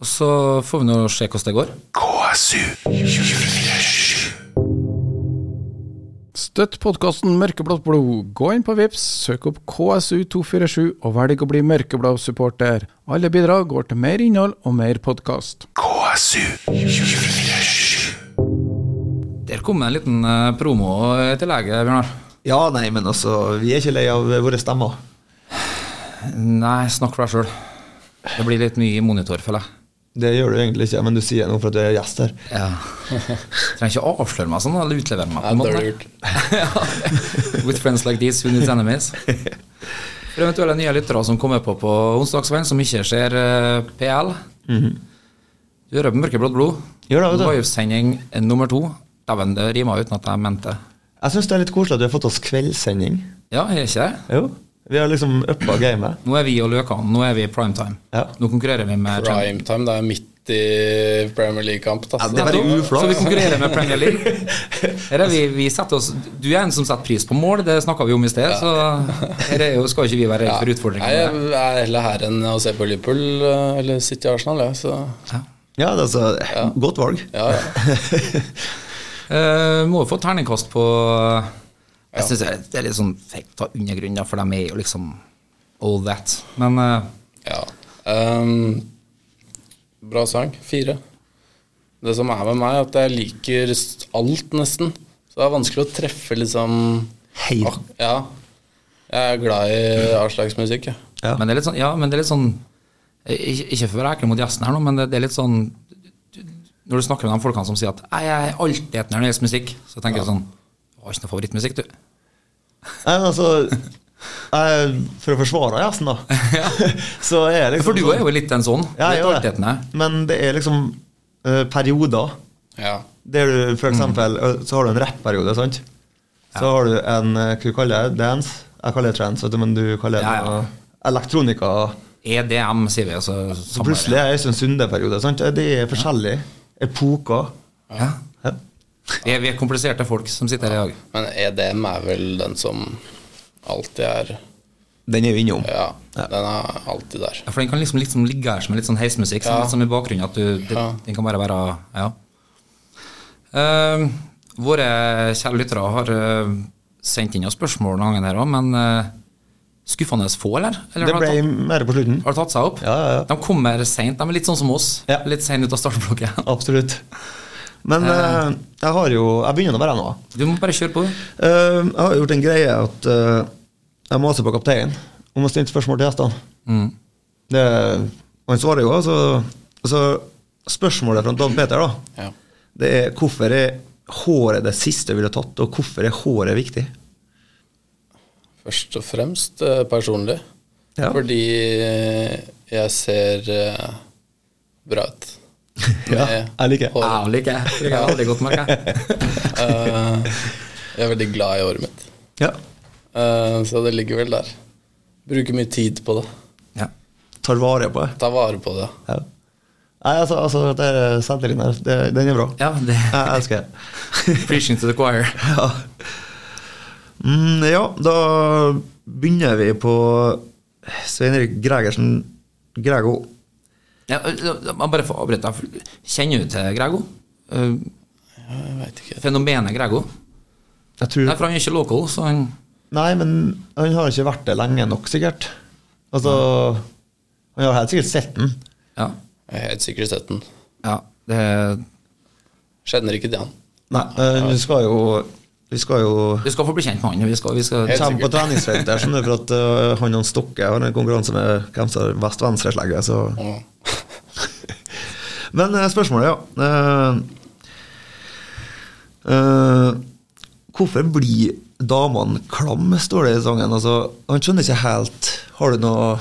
C: Og så får vi nå se hvordan det går.
H: Støtt podkasten Mørkeblått blod. Gå inn på Vips, søk opp KSU247 og velg å bli mørkeblå supporter. Alle bidrag går til mer innhold og mer podkast.
C: Der kom det en liten eh, promo eh, til lege, Bjørnar.
B: Ja, nei, men altså, vi er ikke lei av våre stemmer.
C: Nei, snakk for deg sjøl. Det blir litt mye monitor, føler jeg.
B: Det gjør du egentlig ikke, men du sier noe for at du er gjest her.
C: Ja. Trenger ikke å avsløre meg sånn, eller utlevere meg. på en
E: Ja,
C: måte.
E: det er lurt.
C: Ja. With friends like these who needs enemies. For eventuelle nye lyttere som kommer på på onsdagskvelden, som ikke ser eh, PL Du hører på Mørkeblått blod.
B: Mhm. Gjør det, vet du.
C: Livesending eh, nummer to. Dæven, det rima uten at jeg mente det.
B: Jeg syns det er litt koselig at vi har fått oss kveldssending.
C: Ja, er ikke det?
B: Jo. Vi har liksom uppa gamet.
C: Nå er vi og Løkan. Nå er vi i primetime.
B: Ja.
C: Nå konkurrerer vi med
E: Primetime, det er midt i Premier League-kamp. da.
B: det er bare
C: Nettopp.
B: uflaks.
C: Så vi konkurrerer med Premier League. Her er vi, vi setter oss, du er en som setter pris på mål, det snakka vi om i sted. Så her er jo, skal ikke vi være redd for
E: Nei,
C: utfordringer.
E: jeg er heller her enn å se på Liverpool eh, eller City Arsenal, jeg. Så
B: Ja, det er altså, Godt valg.
E: ja, ja.
C: Eh, må jo få terningkast på eh, Jeg synes det er- det er litt sånn feit av undergrunn, da, for de er jo liksom all that. Men eh,
E: ja. Ehm, bra sang. Fire. Det som er med meg, er at jeg liker s- alt, nesten. Så det er vanskelig å treffe, liksom
B: Helt.
E: ak- Ja. Jeg er glad i all slags musikk, jeg.
B: Ja.
C: Men det er litt sånn, ja, men det er litt sånn ikke, ikke for å være ekkel mot gjesten her nå, men det, det er litt sånn du- Når du snakker med de folkene som sier at «Nei, 'jeg er altetende når det gjelder musikk', så tenker jeg sånn Du har ikke noe favorittmusikk, du.
B: Nei, men altså jeg, For å forsvare gjesten, da. så er jeg liksom
C: For du er jo litt en sånn.
B: ja, jeg
C: litt
B: gjør det.
C: altetende.
B: Men det er liksom eh, perioder.
E: Ja.
B: Der du for eksempel
C: Mm.
B: eh, Så har du en rappperiode, sant? Så har du en eh, Hva du kaller det? Dance? Jeg kaller det trance, vet du, men du kaller det
C: Ja, ja.
B: noe elektronika.
C: EDM, E sier vi. Altså,
B: Så plutselig er Øystein Sunde-periode. sant? Det er forskjellige epoker.
C: ja.
B: Ja.
C: vi, er, vi er kompliserte folk som sitter her i dag.
E: Men EDM er vel den som alltid er
B: Den er jo innom.
E: Ja, den er alltid der.
C: Ja, For den kan liksom, liksom ligge her som en litt sånn heismusikk, sånn,
E: Ja.
C: litt som i bakgrunnen. At du, det,
E: Ja.
C: Den kan bare være Ja. Eh, våre kjære lyttere har eh, sendt inn oss spørsmål noen ganger her òg, men eh, skuffende få, eller? eller
B: Det
C: har,
B: ble
C: tatt,
B: mer på slutten.
C: har det tatt seg opp?
B: Ja, ja, ja.
C: De kommer seint. De er litt sånn som oss.
B: Ja.
C: Litt seint ut av startblokket.
B: Absolutt. Men eh, jeg har jo Jeg begynner nå bare nå.
C: Du må bare kjøre på.
B: Eh, jeg har gjort en greie at eh, jeg maser på kapteinen om å stille spørsmål til gjestene.
C: Mm.
B: Det, og han svarer jo, altså. Så spørsmålet fra Dan Peter, da,
E: Ja.
B: det er hvorfor er håret det siste du ville tatt, og hvorfor er håret viktig?
E: Først og fremst eh, personlig.
B: Ja.
E: Fordi eh, jeg ser eh, bra ut.
B: Ja,
E: Med
B: jeg liker det.
E: håret.
C: liker jeg. Liker jeg veldig godt, merker jeg.
E: Eh, jeg er veldig glad i håret mitt.
B: Ja.
E: Eh, så det ligger vel der. Bruker mye tid på det.
C: Ja.
B: Tar vare på det.
E: Ta vare på det.
B: Ja. Nei, altså, altså det er selvtilliten her, det, den er bra.
C: ja, det
B: Jeg elsker det.
C: Preaching to the choir.
B: Ja. Mm, ja, da begynner vi på Svein Erik Gregersen Grego.
C: Ja, man bare får avbryte. deg, for- Kjenner du til Grego? Eh,
E: Jeg vet ikke.
C: fenomenet Grego?
B: Jeg tror
C: Nei, for han er ikke local, så han
B: Nei, men han har ikke vært det lenge nok, sikkert. Altså Han har helt sikkert sett den.
C: Ja.
E: Jeg har helt sikkert sett den.
C: ja det,
E: Kjenner ikke det han.
B: Nei, eh, vi skal jo Vi skal jo
C: du skal få bli kjent med han. Vi skal, vi skal,
E: Helt
B: Kjem på treningsfeltet her, skjønner du, for at eh, han Hans Stokke har en konkurranse med hvem som har best venstreslegge, så
E: Åh.
B: Men eh, spørsmålet, ja. Eh, eh, hvorfor blir damene klam, står det i sangen. Altså, han skjønner ikke helt Har du noe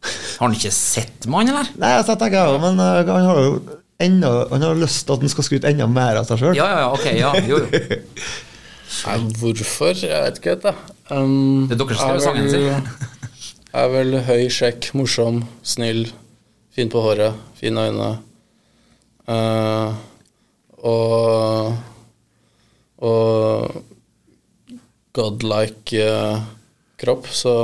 C: har han ikke sett med han, eller?
B: Nei, altså, jeg tenker jeg òg, men eh, han har jo enda, han har lyst til at han skal skryte enda mer av seg sjøl.
C: Ja, ja, ja, ok, ja, jo, jo. Det
E: Nei, hvorfor? Jeg vet ikke, vet jeg. Um,
C: Det er dere som skriver sangen,
E: Er vel høy, sjekk, morsom, snill, fin på håret, fine øyne. eh, og og godlike eh, kropp, så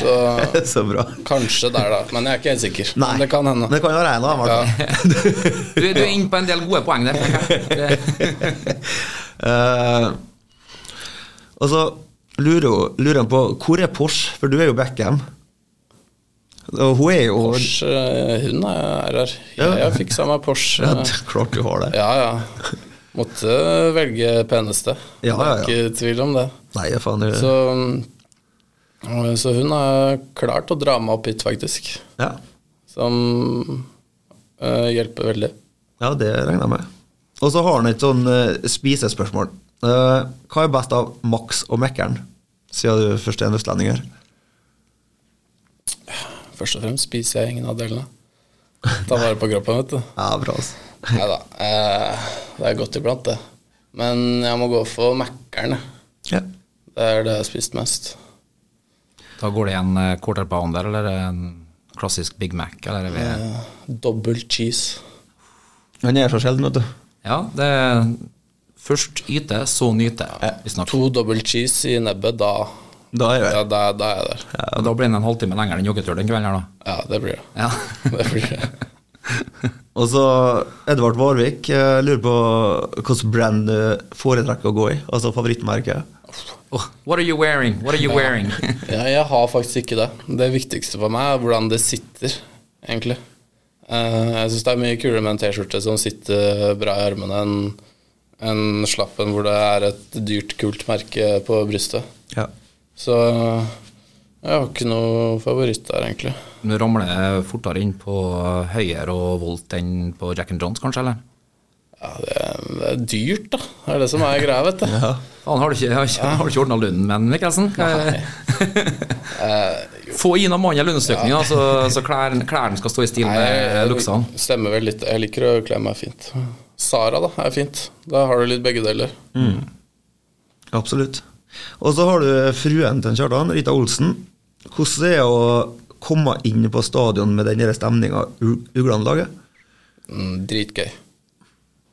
E: Så
B: Så bra.
E: kanskje der, da. Men jeg er ikke helt sikker.
B: Nei.
E: Det kan hende.
B: Men det kan jo være en av dem. i hvert fall.
C: Du, du er inne på en del gode poeng der. tenker jeg. Det,
B: Eh, og så lurer, hun- lurer han på hvor er Porsche, for du er jo Beckham. Og hun er jo
E: Porsche, eh, hun er her. Jeg, jeg fiksa meg Porsche.
B: Ja, det er klart du har det.
E: Ja, ja. Måtte velge peneste.
B: Ja, ja, ja.
E: Det er ikke tvil om det.
B: Nei, faen. Det,
E: Så, mm, så hun har klart å dra meg opp hit, faktisk.
B: Ja.
E: Som eh, hjelper veldig.
B: ja, det regner jeg med. Og så har han et sånn eh, spisespørsmål. Eh, hva er best av Max og Mækkern, siden du først er en østlending her?
E: Først og fremst spiser jeg ingen av delene. Ta vare på kroppen, vet du.
B: Ja, bra, altså.
E: Nei da. eh, det er godt iblant, det. Men jeg må gå for Mækkern. jeg.
B: Ja.
E: Det er det jeg har spist mest.
C: Da går det en eh, quarter pounder eller en klassisk Big Mac. Eller er vi,
E: Eh, Dobbel cheese.
B: Han er så sjelden, vet du.
C: ja, det er først yte, så nyte. Vi snakker.
E: To dobbel cheese i nebbet, da
B: Da er
E: ja,
B: jeg
E: da, da er jeg der.
C: Og da blir det en halvtime lenger enn joggetur den kvelden her, da.
E: Ja, det blir det.
C: Ja.
E: det, blir det.
B: Og så Edvard Vårvik eh, lurer på hvilken brand du foretrekker å gå i, altså favorittmerket.
C: Oh, what are you wearing? What are you wearing?
E: Ja, jeg har faktisk ikke det. Det viktigste for meg er hvordan det sitter, egentlig. Eh, Jeg syns det er mye kulere med en T-skjorte som sitter bra i armene, enn en slappen hvor det er et dyrt, kult merke på brystet.
B: Ja.
E: Så eh, jeg har ikke noe favoritt der, egentlig.
C: Du ramler fortere inn på høyere og volt enn på Jack and Johns, kanskje? eller?
E: Ja, det, er, det er dyrt, da. Det er det som er greia, vet du.
C: Faen, har du ikke, har ikke, har du ikke ordna lønnen min, Mikkelsen? Eh, Få inn noen mandel lønnsøkning, da, så, så klærne klærne skal stå i stil med luksene.
E: stemmer vel litt. Jeg liker å kle meg fint. Sara, da, er fint. Da har du litt begge deler.
B: Absolutt. Og så har du fruen til Kjartan, Rita Olsen. Hvordan er det å komme inn på stadion med den stemninga uglene lager?
E: Mm, Dritgøy.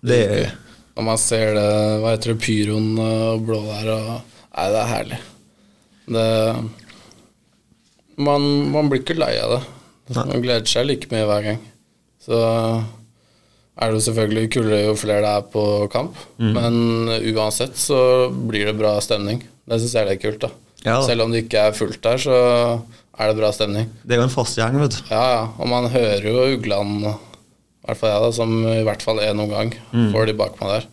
B: Det er
E: Når man ser det, hva heter det, pyroen eh, og blå der og Nei, det er herlig. Det Man, man blir ikke lei av det. Man gleder seg like mye hver gang. Så er det jo selvfølgelig kulere jo flere det er på kamp,
B: Mm.
E: men uansett så blir det bra stemning. Det syns jeg det er kult, da.
B: Ja da.
E: Selv om det ikke er fullt der, så er det bra stemning.
B: det er jo en fast gjeng, vet du.
E: Ja, ja. Og man hører jo uglene, i hvert fall jeg, da, som i hvert fall én omgang får de bak meg der.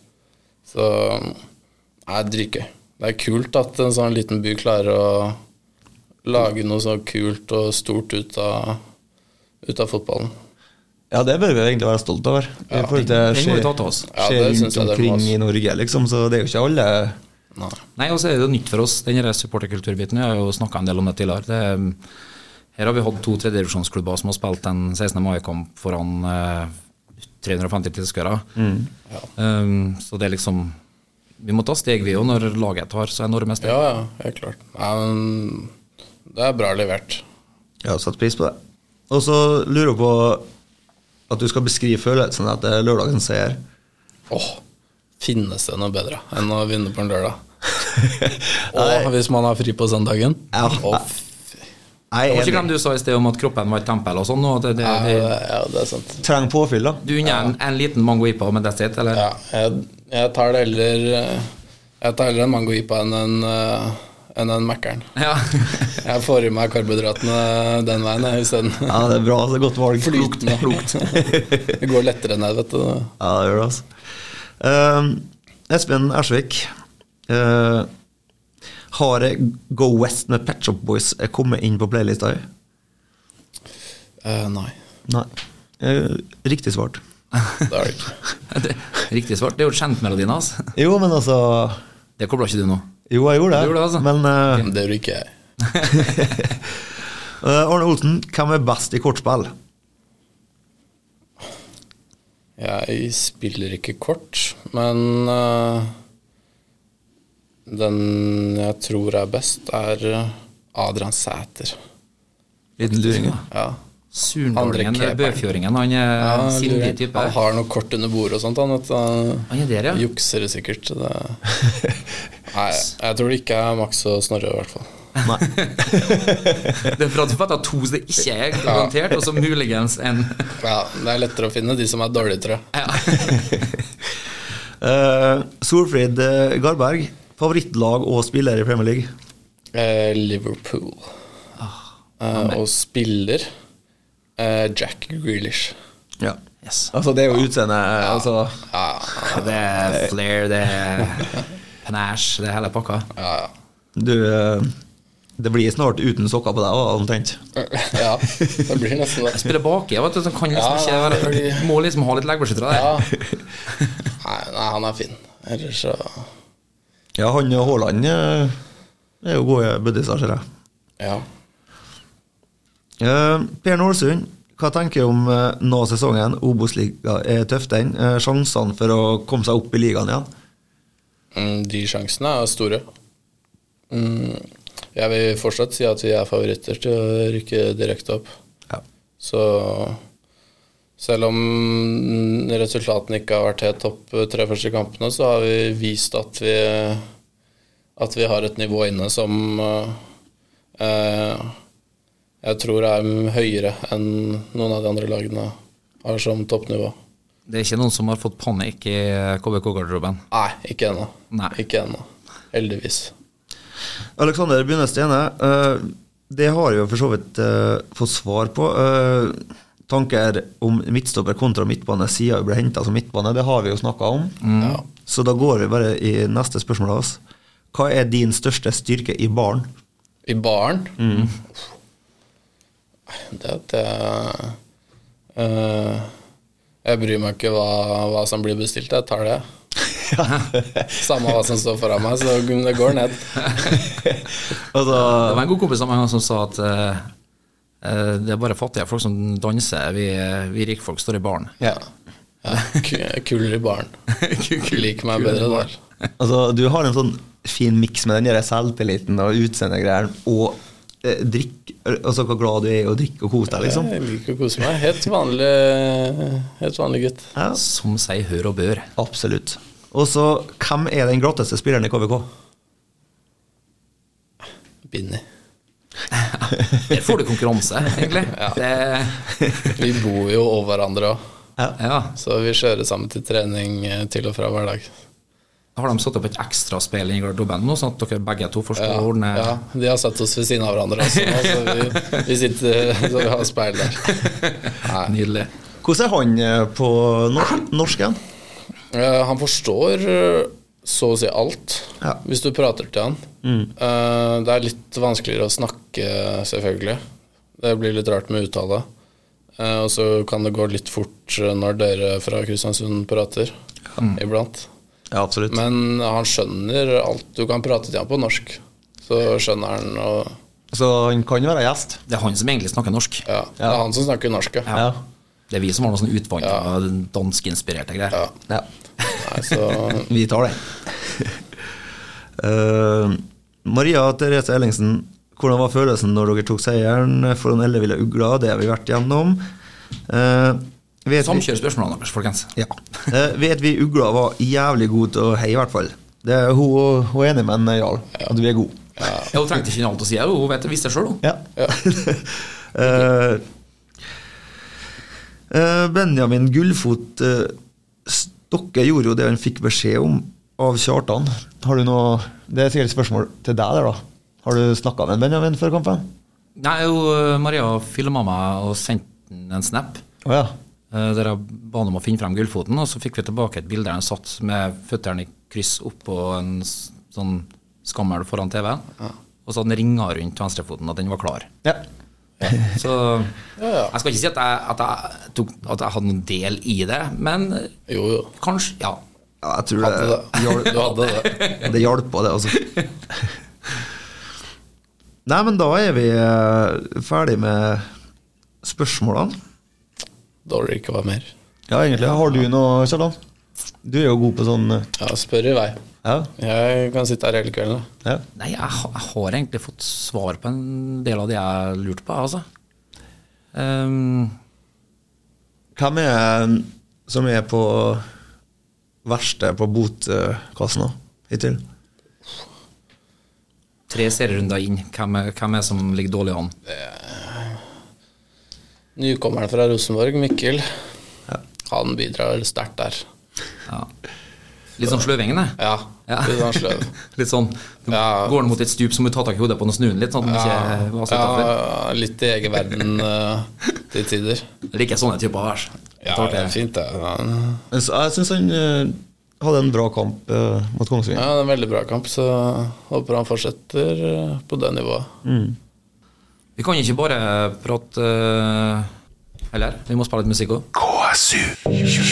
E: Så det er dritgøy. Det er kult at en sånn liten by klarer å lage noe så kult og stort ut av, ut av fotballen.
B: Ja, det bør vi egentlig være stolt over. I forhold til
C: Den må vi ta
B: skje-
C: til oss.
E: Ja,
B: skje
E: det synes
B: rundt
E: jeg det må,
B: omkring
E: altså.
B: i Norge, liksom, så det er jo ikke alle
E: Nei.
C: Nei, og så er det jo nytt for oss, den her supporterkulturbiten. Vi har jo snakka en del om det tidligere. Det, er- her har vi hatt to tredjedivisjonsklubber som har spilt en 16. mai-kamp foran eh, 350 tilskuere. Um, så det er liksom Vi må ta steg, vi òg, når laget tar så enorme steg.
E: Ja, ja, helt klart. Nei, men det er bra levert.
B: Jeg har satt pris på det. Og så lurer hun på at du skal beskrive følelsen etter lørdagens seier.
E: Åh, finnes det noe bedre enn å vinne på en lørdag? og hvis man har fri på søndagen?
B: Ja.
E: Å, fy-
B: Jeg
C: Det var
B: er
C: ikke
B: enig.
C: glem du sa i sted om at kroppen var et tempel og sånn. Og det, det,
E: Ja,
C: det,
E: det, ja, det er sant.
B: Trenger påfyll, da.
C: du unner en, en liten mango ipa med that's it, eller?
E: Ja, jeg, jeg tar det heller eh, Jeg tar heller en mango ipa enn en, eh, enn en Mækkern.
C: Ja.
E: Jeg får i meg karbohydratene den veien jeg, isteden.
B: Ja, det er bra. Det er godt valg.
E: Flytende. Det går lettere ned, vet du.
B: Ja, det gjør det, altså. Eh, Espen Ersvik. eh, har Go West med Pet Shop Boys kommet inn på playlista di?
E: Eh, nei,
B: Nei. Eh, riktig svart.
E: det er det ikke.
C: Det- Riktig svart. Det er jo kjentmelodien hans.
B: Jo, men altså
C: Det kobla ikke du nå.
B: Jo, jeg gjorde det.
C: Du gjorde det, altså.
B: Men eh,
E: Men Det gjør ikke jeg.
B: eh, Arne Olsen, hvem er best i kortspill?
E: Jeg spiller ikke kort, men eh, den jeg tror er best, er eh, Adrian Sæter.
B: Liten luring, ja.
E: Ja.
C: Surndalingen,
E: Andre keeperen.
C: bøfjøringen. Han er
E: Ja,
C: en sindig
E: lurer.
C: type.
E: han har noe kort under bordet og sånt. Han, vet du. Han-
C: Han er der, ja.
E: Jukser det sikkert. Det. Nei, jeg tror det ikke er Max og Snorre, i hvert fall.
C: Det er for at du fatter to som det ikke er garantert, og så muligens en
E: Ja, det er lettere å finne de som er dårlige, tror jeg.
C: ja.
B: Eh, Solfrid eh, Garberg, favorittlag og spiller i Premier League.
E: Eh, Liverpool. Eh, og spiller eh, Jack Grealish.
B: Ja. Altså, det er jo utseendet altså,
C: Det er flair, det er panache, det er hele pakka.
B: Du eh, Det blir snart uten sokker på deg, da, omtrent.
E: ja, det blir nesten det.
C: Spiller baki, vet du, så kan liksom ikke
E: Ja,
C: være
E: fordi-
C: Må liksom ha litt leggbeskyttere der.
E: Ja. Nei, nei, han er fin. Ellers så
B: Ja, han og Haaland eh, er jo gode buddiser, ser jeg.
E: Ja.
B: Eh, per Nålsund, hva tenker du om eh, nå sesongen? Obos-liga er tøff, den. Eh, sjansene for å komme seg opp i ligaen igjen?
E: Mm, De sjansene er store. Mm, jeg vil fortsatt si at vi er favoritter til å rykke direkte opp.
B: Ja.
E: Så selv om mm, resultatene ikke har vært helt topp eh, tre første kampene, så har vi vist at vi, at vi har et nivå inne som eh, eh, jeg tror er høyere enn noen av de andre lagene har som toppnivå.
C: Det er ikke noen som har fått panikk i eh, KBK-garderoben.
E: Nei, ikke ennå.
C: Nei.
E: Ikke ennå. Heldigvis.
B: Alexander Bunne Stene, eh, det har jeg jo for så vidt eh, fått svar på. Eh, tanker om midtstopper kontra midtbane siden vi ble henta som midtbane, det har vi jo snakka om.
E: Mm.
B: Så da går vi bare i neste spørsmål av oss. Hva er din største styrke i baren?
E: I baren? Det at jeg eh, Jeg bryr meg ikke hva, hva som blir bestilt, jeg tar det. Samme hva som står foran meg, så det går ned.
B: Altså,
C: Det var en god kompis av meg en gang som sa at eh, eh, det er bare fattige folk som danser, vi, eh, vi rikfolk står i baren.
E: Ja. ku- Kulere i baren. Liker meg bedre der.
B: Altså, du har en sånn fin miks med den der selvtilliten og utseendegreier og eh, drikk Altså hvor glad du er i å drikke og kose deg, liksom.
E: Jeg liker å kose meg. Helt vanlig, helt vanlig gutt.
B: Ja,
C: Som sier hør og bør.
B: absolutt. Og så, hvem er den glatteste spilleren i KVK?
E: Binni.
C: Der får du konkurranse, egentlig. Det,
E: Vi bor jo over hverandre òg,
C: ja.
E: så vi kjører sammen til trening eh, til og fra hver dag.
C: Har de satt opp et ekstraspill i garderoben nå, sånn at dere begge to får stå og ordne
E: Ja, de har satt oss ved siden av hverandre også, nå, så vi, vi sitter så vi har speil der.
C: Nydelig.
B: Hvordan er han eh, på norsk, norsken?
E: Eh, han forstår eh, så å si alt,
B: Ja.
E: hvis du prater til han. Eh, det er litt vanskeligere å snakke, selvfølgelig. Det blir litt rart med uttale. Eh, og så kan det gå litt fort eh, når dere fra Kristiansund prater, Mm. iblant.
B: Ja, absolutt.
E: Men han skjønner alt du kan prate til han på norsk. Så skjønner han og
B: Så han kan være gjest.
C: Det er han som egentlig snakker norsk.
E: Ja, det er han som snakker norsk, ja.
B: Ja.
C: Det er vi som har noe sånn utvanna danskinspirerte greier.
E: Ja.
B: ja.
E: Nei, så
B: Vi tar den. Eh, Maria Therese Ellingsen, hvordan var følelsen når dere tok seieren foran Elleville Ugla? Det har vi vært gjennom. Uh, vet vi-
C: Samkjør spørsmålene deres, folkens.
B: Ja. Eh, vet vi Ugla var jævlig god til å heie, i hvert fall. Det er hun, hun er enig med en Jarl, at vi er gode.
C: Ja, Hun trengte ikke noe annet å si, hun vet det, visste det sjøl, hun.
B: Ja. Eh, eh, Benjamin Gullfot eh, Stokke gjorde jo det han fikk beskjed om av Kjartan. Har du noe Det er sikkert et spørsmål til deg der, da. Har du snakka med Benjamin før kampen?
C: Nei, jo, eh, Maria filma meg og sendte den en snap.
B: Å ja.
C: eh, Der jeg ba han om å finne frem gullfoten, og så fikk vi tilbake et bilde der han satt med føttene i kryss oppå en s- sånn skammel foran TV-en. Og så hadde han ringa rundt venstrefoten, at den var klar.
B: ja.
C: Så jeg skal ikke si at jeg, at jeg, tok, at jeg hadde noen del i det, men
E: Jo, jo.
C: kanskje Ja.
B: Ja, jeg tror det,
E: Hadde det. Du hadde det.
B: det hjalp på, det, altså. Nei, men da er vi eh, ferdig med spørsmålene.
E: Dårligere ikke være mer.
B: Ja, egentlig. Har du noe, Kjartan? Du er jo god på sånn eh,
E: Ja, spør i vei.
B: Ja.
E: Jeg kan sitte her hele kvelden. da.
B: ja.
C: Nei, jeg, ha- jeg har egentlig fått svar på en del av det jeg lurte på, altså. Ehm,
B: Hvem er eh, som er på verste på botkassen da, hittil?
C: tre serierunder inn, hvem er, hvem er som ligger dårlig an?
E: Nykommeren fra Rosenborg, Mikkel, han bidrar sterkt der.
C: Ja. Litt sånn sløvingen, det.
E: Ja, litt sånn sløv.
C: litt sånn, du
E: Ja.
C: Går den mot et stup, så må du ta tak i hodet på den og snu den litt. sånn at den
E: Eh,
C: ikke vaser utenfor.
E: Ja, litt i egen verden eh, til tider.
C: Jeg liker sånne typer vers.
E: Ja, det er fint, det. Ja,
B: Men så- Jeg syns han eh, hadde en bra kamp eh, mot Kongsvinger.
E: det er en veldig bra kamp, så håper han fortsetter eh, på det nivået.
C: Vi kan ikke bare prate eh, Eller? Vi må spille litt musikk òg.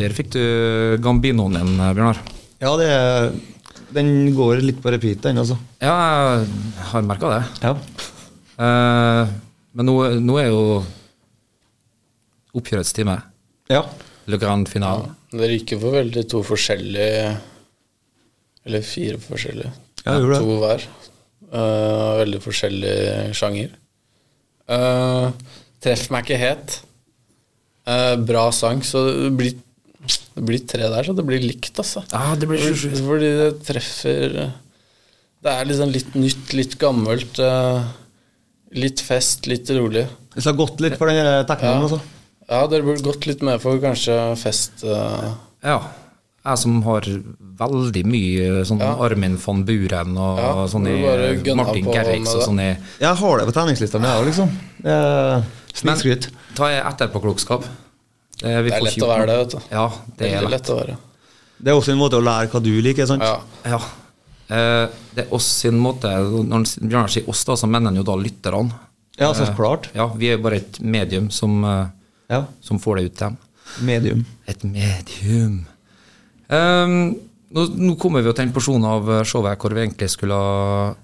C: Der fikk du Gambinoen din, eh, Bjørnar.
B: Ja, det er, den går litt på repeat, den, altså.
C: Ja, jeg har merka det.
B: Ja.
C: Eh, men nå, nå er jo oppgjørets time.
B: ja.
C: Le grand finale.
E: Dere gikk jo for veldig to forskjellige Eller fire forskjellige.
B: Ja, jeg gjorde det.
E: To hver. Eh, veldig forskjellig sjanger. Eh, treff meg ikke het. Eh, bra sang, så det blir, det blir tre der, så det blir likt, altså.
C: Ah, det blir
E: Fordi- Fordi det treffer Det er liksom litt nytt, litt gammelt. eh, Litt fest, litt rolig.
B: Så jeg har gått litt for den der teknen, altså.
E: Ja, dere burde gått litt med for kanskje fest eh,
C: Ja. Jeg som har veldig mye sånn Armin von Buren og
E: Ja,
C: sånn i
E: du bare gønner
C: Martin
E: på
C: Gerriks
E: med
C: og
E: det.
C: sånn i
B: Jeg har det på treningslista mi, jeg òg, liksom. Det er
C: Men
B: Snikskryt.
C: ta etterpåklokskap. Det, vi
E: Det er
C: får
E: lett
C: ikke
E: å
C: gjort
E: være det,
C: noe.
E: vet du.
C: Ja, det
E: Veldig
C: er
E: lett
C: lett.
E: å være.
B: Det er også en måte å lære hva du liker, sant?
E: Ja.
C: Ja. Eh, det er oss sin måte Når han s- Bjørnar sier oss, da, så mener han jo da lytterne. Eh,
B: Ja, så klart.
C: Ja, vi er jo bare et medium som, eh,
B: Ja.
C: som får det ut til dem.
B: Medium.
C: Et medium. Ehm, nå, nå kommer vi jo til en porsjon av eh, showet hvor vi egentlig skulle ha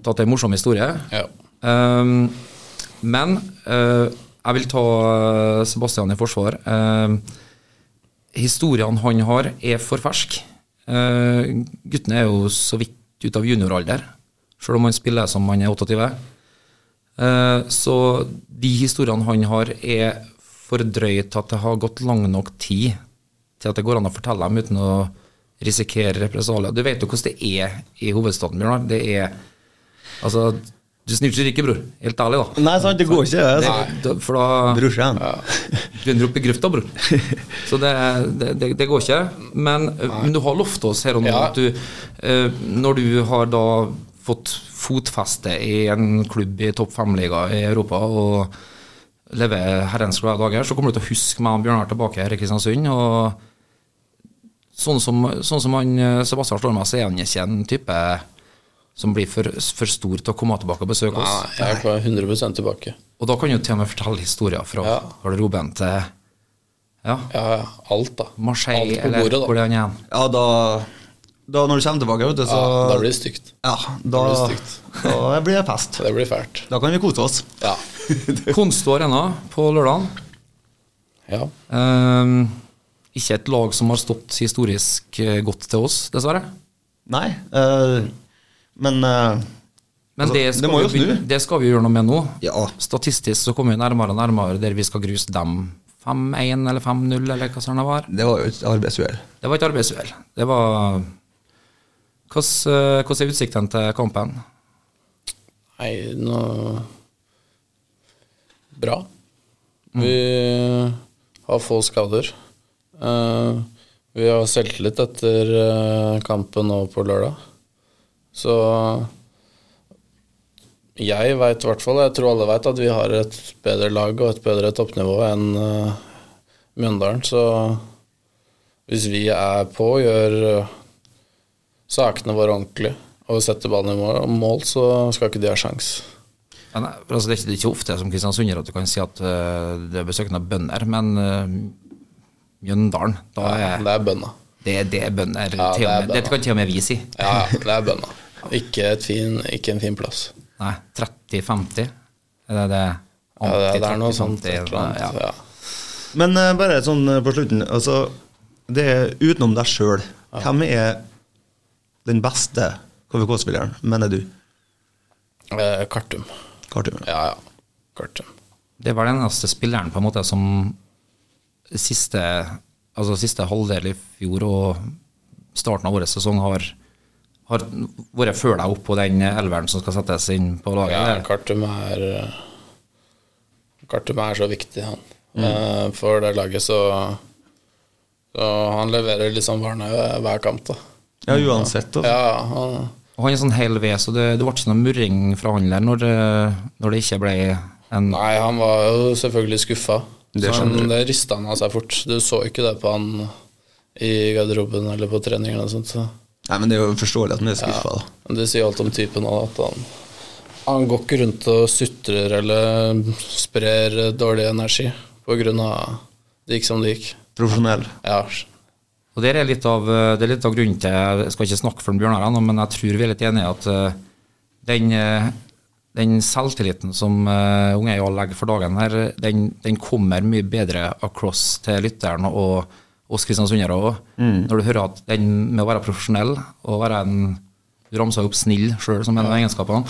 C: tatt en morsom historie.
E: Ja.
C: Ehm, men eh, jeg vil ta eh, Sebastian i forsvar. Ehm, historiene han har, er for fersk. Eh, guttene er jo så vidt ut av junioralder, selv om han spiller som han er 28. Eh, Så de historiene han har, er for drøye til at det har gått lang nok tid til at det går an å fortelle dem uten å risikere represalier. Du vet jo hvordan det er i hovedstaden, Bjørnar. Det er Altså, du snitcher ikke, bror. Helt ærlig, da.
B: Nei, sant, det går ikke, det. Altså.
C: Da- For da
B: Brorsan.
C: begynner du opp i grøfta, bror. Så det, det, det, det går ikke. Men, eh, men du har lovt oss her og nå
E: Ja.
C: at du, eh, når du har da fått fotfeste i en klubb i topp fem-liga i Europa og lever herrens glade dager, så kommer du til å huske meg og Bjørnar tilbake her i Kristiansund. og Sånn som, sånn som han, eh, Sebastian Storma, så er han ikke en type som blir for, for stor til å komme tilbake og besøke oss.
E: Nei, jeg er 100 tilbake.
C: Og da kan jo til og med fortelle historier fra
E: Ja.
C: garderoben til ja,
E: Ja, ja. Alt, da.
C: Marseille,
E: Alt på
C: eller
E: bordet, da.
C: hvor det er igjen.
B: Ja, da, da Når du kommer tilbake, vet du, så
E: Ja, da blir det stygt.
B: Ja, da,
E: da blir det stygt.
B: da blir det fest.
E: Det blir fælt.
B: Da kan vi kose oss.
E: Ja.
C: Konsto Arena på lørdagen.
E: ja.
C: Ehm, ikke et lag som har stått historisk eh, godt til oss, dessverre.
B: Nei, eh, men eh,
C: Men
B: Altså,
C: det,
B: det
C: skal
B: må jo
C: vi, begyn-
B: snu.
C: det skal vi gjøre noe med nå.
B: Ja.
C: Statistisk så kommer vi nærmere og nærmere der vi skal gruse dem 5-1 eller 5-0 eller hva sånn det var.
B: Det var jo et arbeidsuhell.
C: Det var ikke arbeidsuhell. Det var Hvordan eh, hvordan er utsiktene til kampen?
E: Nei, nå Bra. Vi har få skader. Eh, vi har selvtillit etter eh, kampen nå på lørdag. Så jeg veit i hvert fall, jeg tror alle veit, at vi har et bedre lag og et bedre toppnivå enn eh, Mjøndalen. Så hvis vi er på og gjør eh, sakene våre ordentlig og setter ballen i mål, mål så skal ikke de ha sjans.
C: Ja, nei, for altså det, er ikke, det er ikke ofte som kristiansunder at du kan si at eh, det er besøkende av bønder, men eh, Mjøndalen, da er
E: Det er bønna.
C: det, det er bønder.
E: Ja,
C: til og
E: det er
C: med, dette
E: bønder.
C: kan til og med vi si.
E: Ja, ja, det er bønna. Ikke, et fin, ikke en fin plass.
C: Nei, 30-50? Er det det?
E: Ja, det, det er noe
C: 30-50,
E: sånt. Et eller annet.
C: ja.
E: Ja.
B: Men eh, bare sånn eh, på slutten, altså Det er utenom deg sjøl. Hvem er den beste KVK-spilleren, mener du?
E: Eh, Kartum.
B: Kartum.
E: Ja, ja. Kartum.
C: Det var den eneste spilleren på en måte som siste, altså siste halvdel i fjor og starten av årets sesong har, har vært før deg opp på den elveren som skal settes inn på laget.
E: Ja,
C: der.
E: Kartum er eh, Kartum er så viktig, han. Eh, for det laget så Så han leverer liksom varene hver kamp, da.
B: Ja, uansett. Altså.
E: Ja, ja, han,
C: Og han er sånn hel ved, så det, det ble ikke noe murring fra han der når, eh, når det ikke ble en
E: Nei, han var jo selvfølgelig skuffa.
B: Det
E: Det,
B: skjønner
E: det rista han av seg fort. Du så ikke det på han i garderoben eller på trening eller noe sånt. Så.
B: Nei, men det er jo forståelig at han er skuffa, da.
E: Men det sier alt om typen òg, at han, han går ikke rundt og sutrer eller sprer dårlig energi på grunn av det gikk som det gikk.
B: Profesjonell.
E: Ja,
C: Og der er litt av, eh, det er litt av grunnen til Jeg skal ikke snakke for Bjørnar, ennå, men jeg tror vi er litt enige i at eh, den, eh, den selvtilliten som eh, Unge Jarl legger for dagen her, den, den kommer mye bedre across til lytteren og oss kristiansundere òg. Når du hører at den med å være profesjonell og være en Du ramsa opp snill sjøl som en av egenskapene.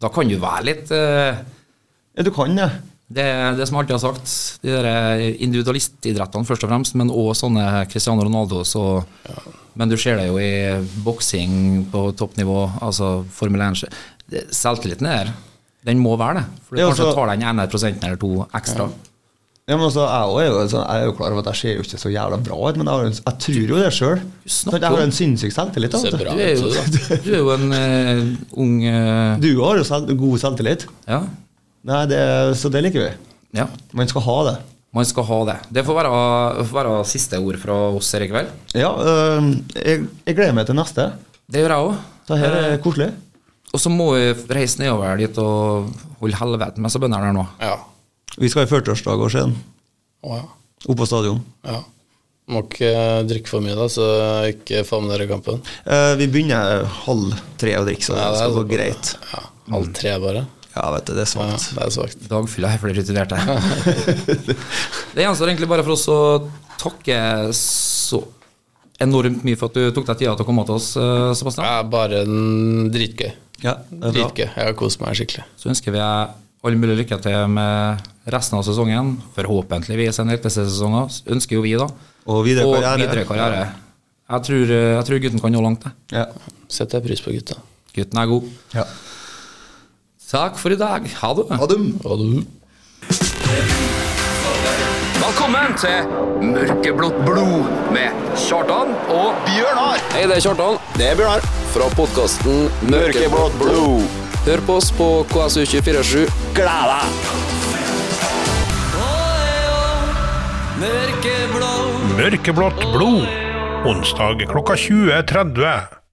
C: Da kan du være litt eh,
B: Ja, du kan det.
C: det, det som jeg alltid har sagt, de der eh, individualistidrettene først og fremst, men òg sånne Cristiano Ronaldo. Så, Men du ser det jo i boksing på toppnivå, altså Formel 1 så- det- Selvtilliten er der. Den må være det. For
B: Ja,
C: kanskje
B: altså-
C: tar den ene prosenten eller to ekstra.
B: Ja, men altså, jeg, også er jo, sånn- jeg er jo klar over at jeg ser jo ikke så jævla bra ut, men jeg, har jo en- jeg tror jo det sjøl.
C: snakker
B: Jeg har
C: om-
B: en sinnssyk selvtillit. da,
E: ser
B: vet du.
E: bra
C: Du er jo,
E: ut. da.
C: du er jo en eh, ung eh,
B: Du har jo selv, god selvtillit.
C: ja,
B: Nei, det, Så det liker vi.
C: ja.
B: Man skal ha det.
C: Man skal ha det. Det får være, får være siste ord fra oss her i kveld.
B: Ja, øh, jeg, jeg gleder meg til neste.
C: Det gjør jeg òg.
B: Så her er koselig.
C: Og så må vi reise nedover dit og holde helvete med seg bøndene der nå.
E: Ja.
B: Vi skal i 40-årsdag og se den.
E: Å, ja.
B: Oppe på stadion.
E: ja. Må ikke drikke for mye, da, så ikke få med dere kampen.
B: Eh, vi begynner halv tre å drikke, så det
E: Ja, det er
B: skal gå
E: såpass.
B: greit.
E: Ja. Halv tre, bare.
B: Ja, vet du, det er
E: Ja,
B: svakt.
E: det er svakt.
C: Dagfylla er for de rutinerte. det gjenstår egentlig bare for oss å takke så enormt mye for at du tok deg tida til å komme til oss, eh,
E: Det
C: Sebastian.
E: er bare en dritgøy.
B: Ja, det er bra.
E: Dritgøy. Jeg har kost meg skikkelig.
C: Så ønsker vi deg all mulig lykke til med resten av sesongen. Forhåpentligvis en elitesesong også, ønsker jo vi, da.
B: Og videre karriere.
C: videre karriere. Jeg tror, eh, jeg tror gutten kan nå langt, jeg.
B: Ja.
E: Setter jeg pris på, gutta.
C: Gutten er god.
B: Ja.
C: Takk for i dag. Ha det.
B: Ha det.
E: Ha det.
A: Velkommen til Mørkeblått blod med Kjartan og Bjørnar.
F: Hei, det er Kjartan. Det er Bjørnar. Fra podkasten Mørkeblått blod. Hør på oss på KSU247. Gled deg!
D: Mørkeblått blod. Onsdag klokka 20.30.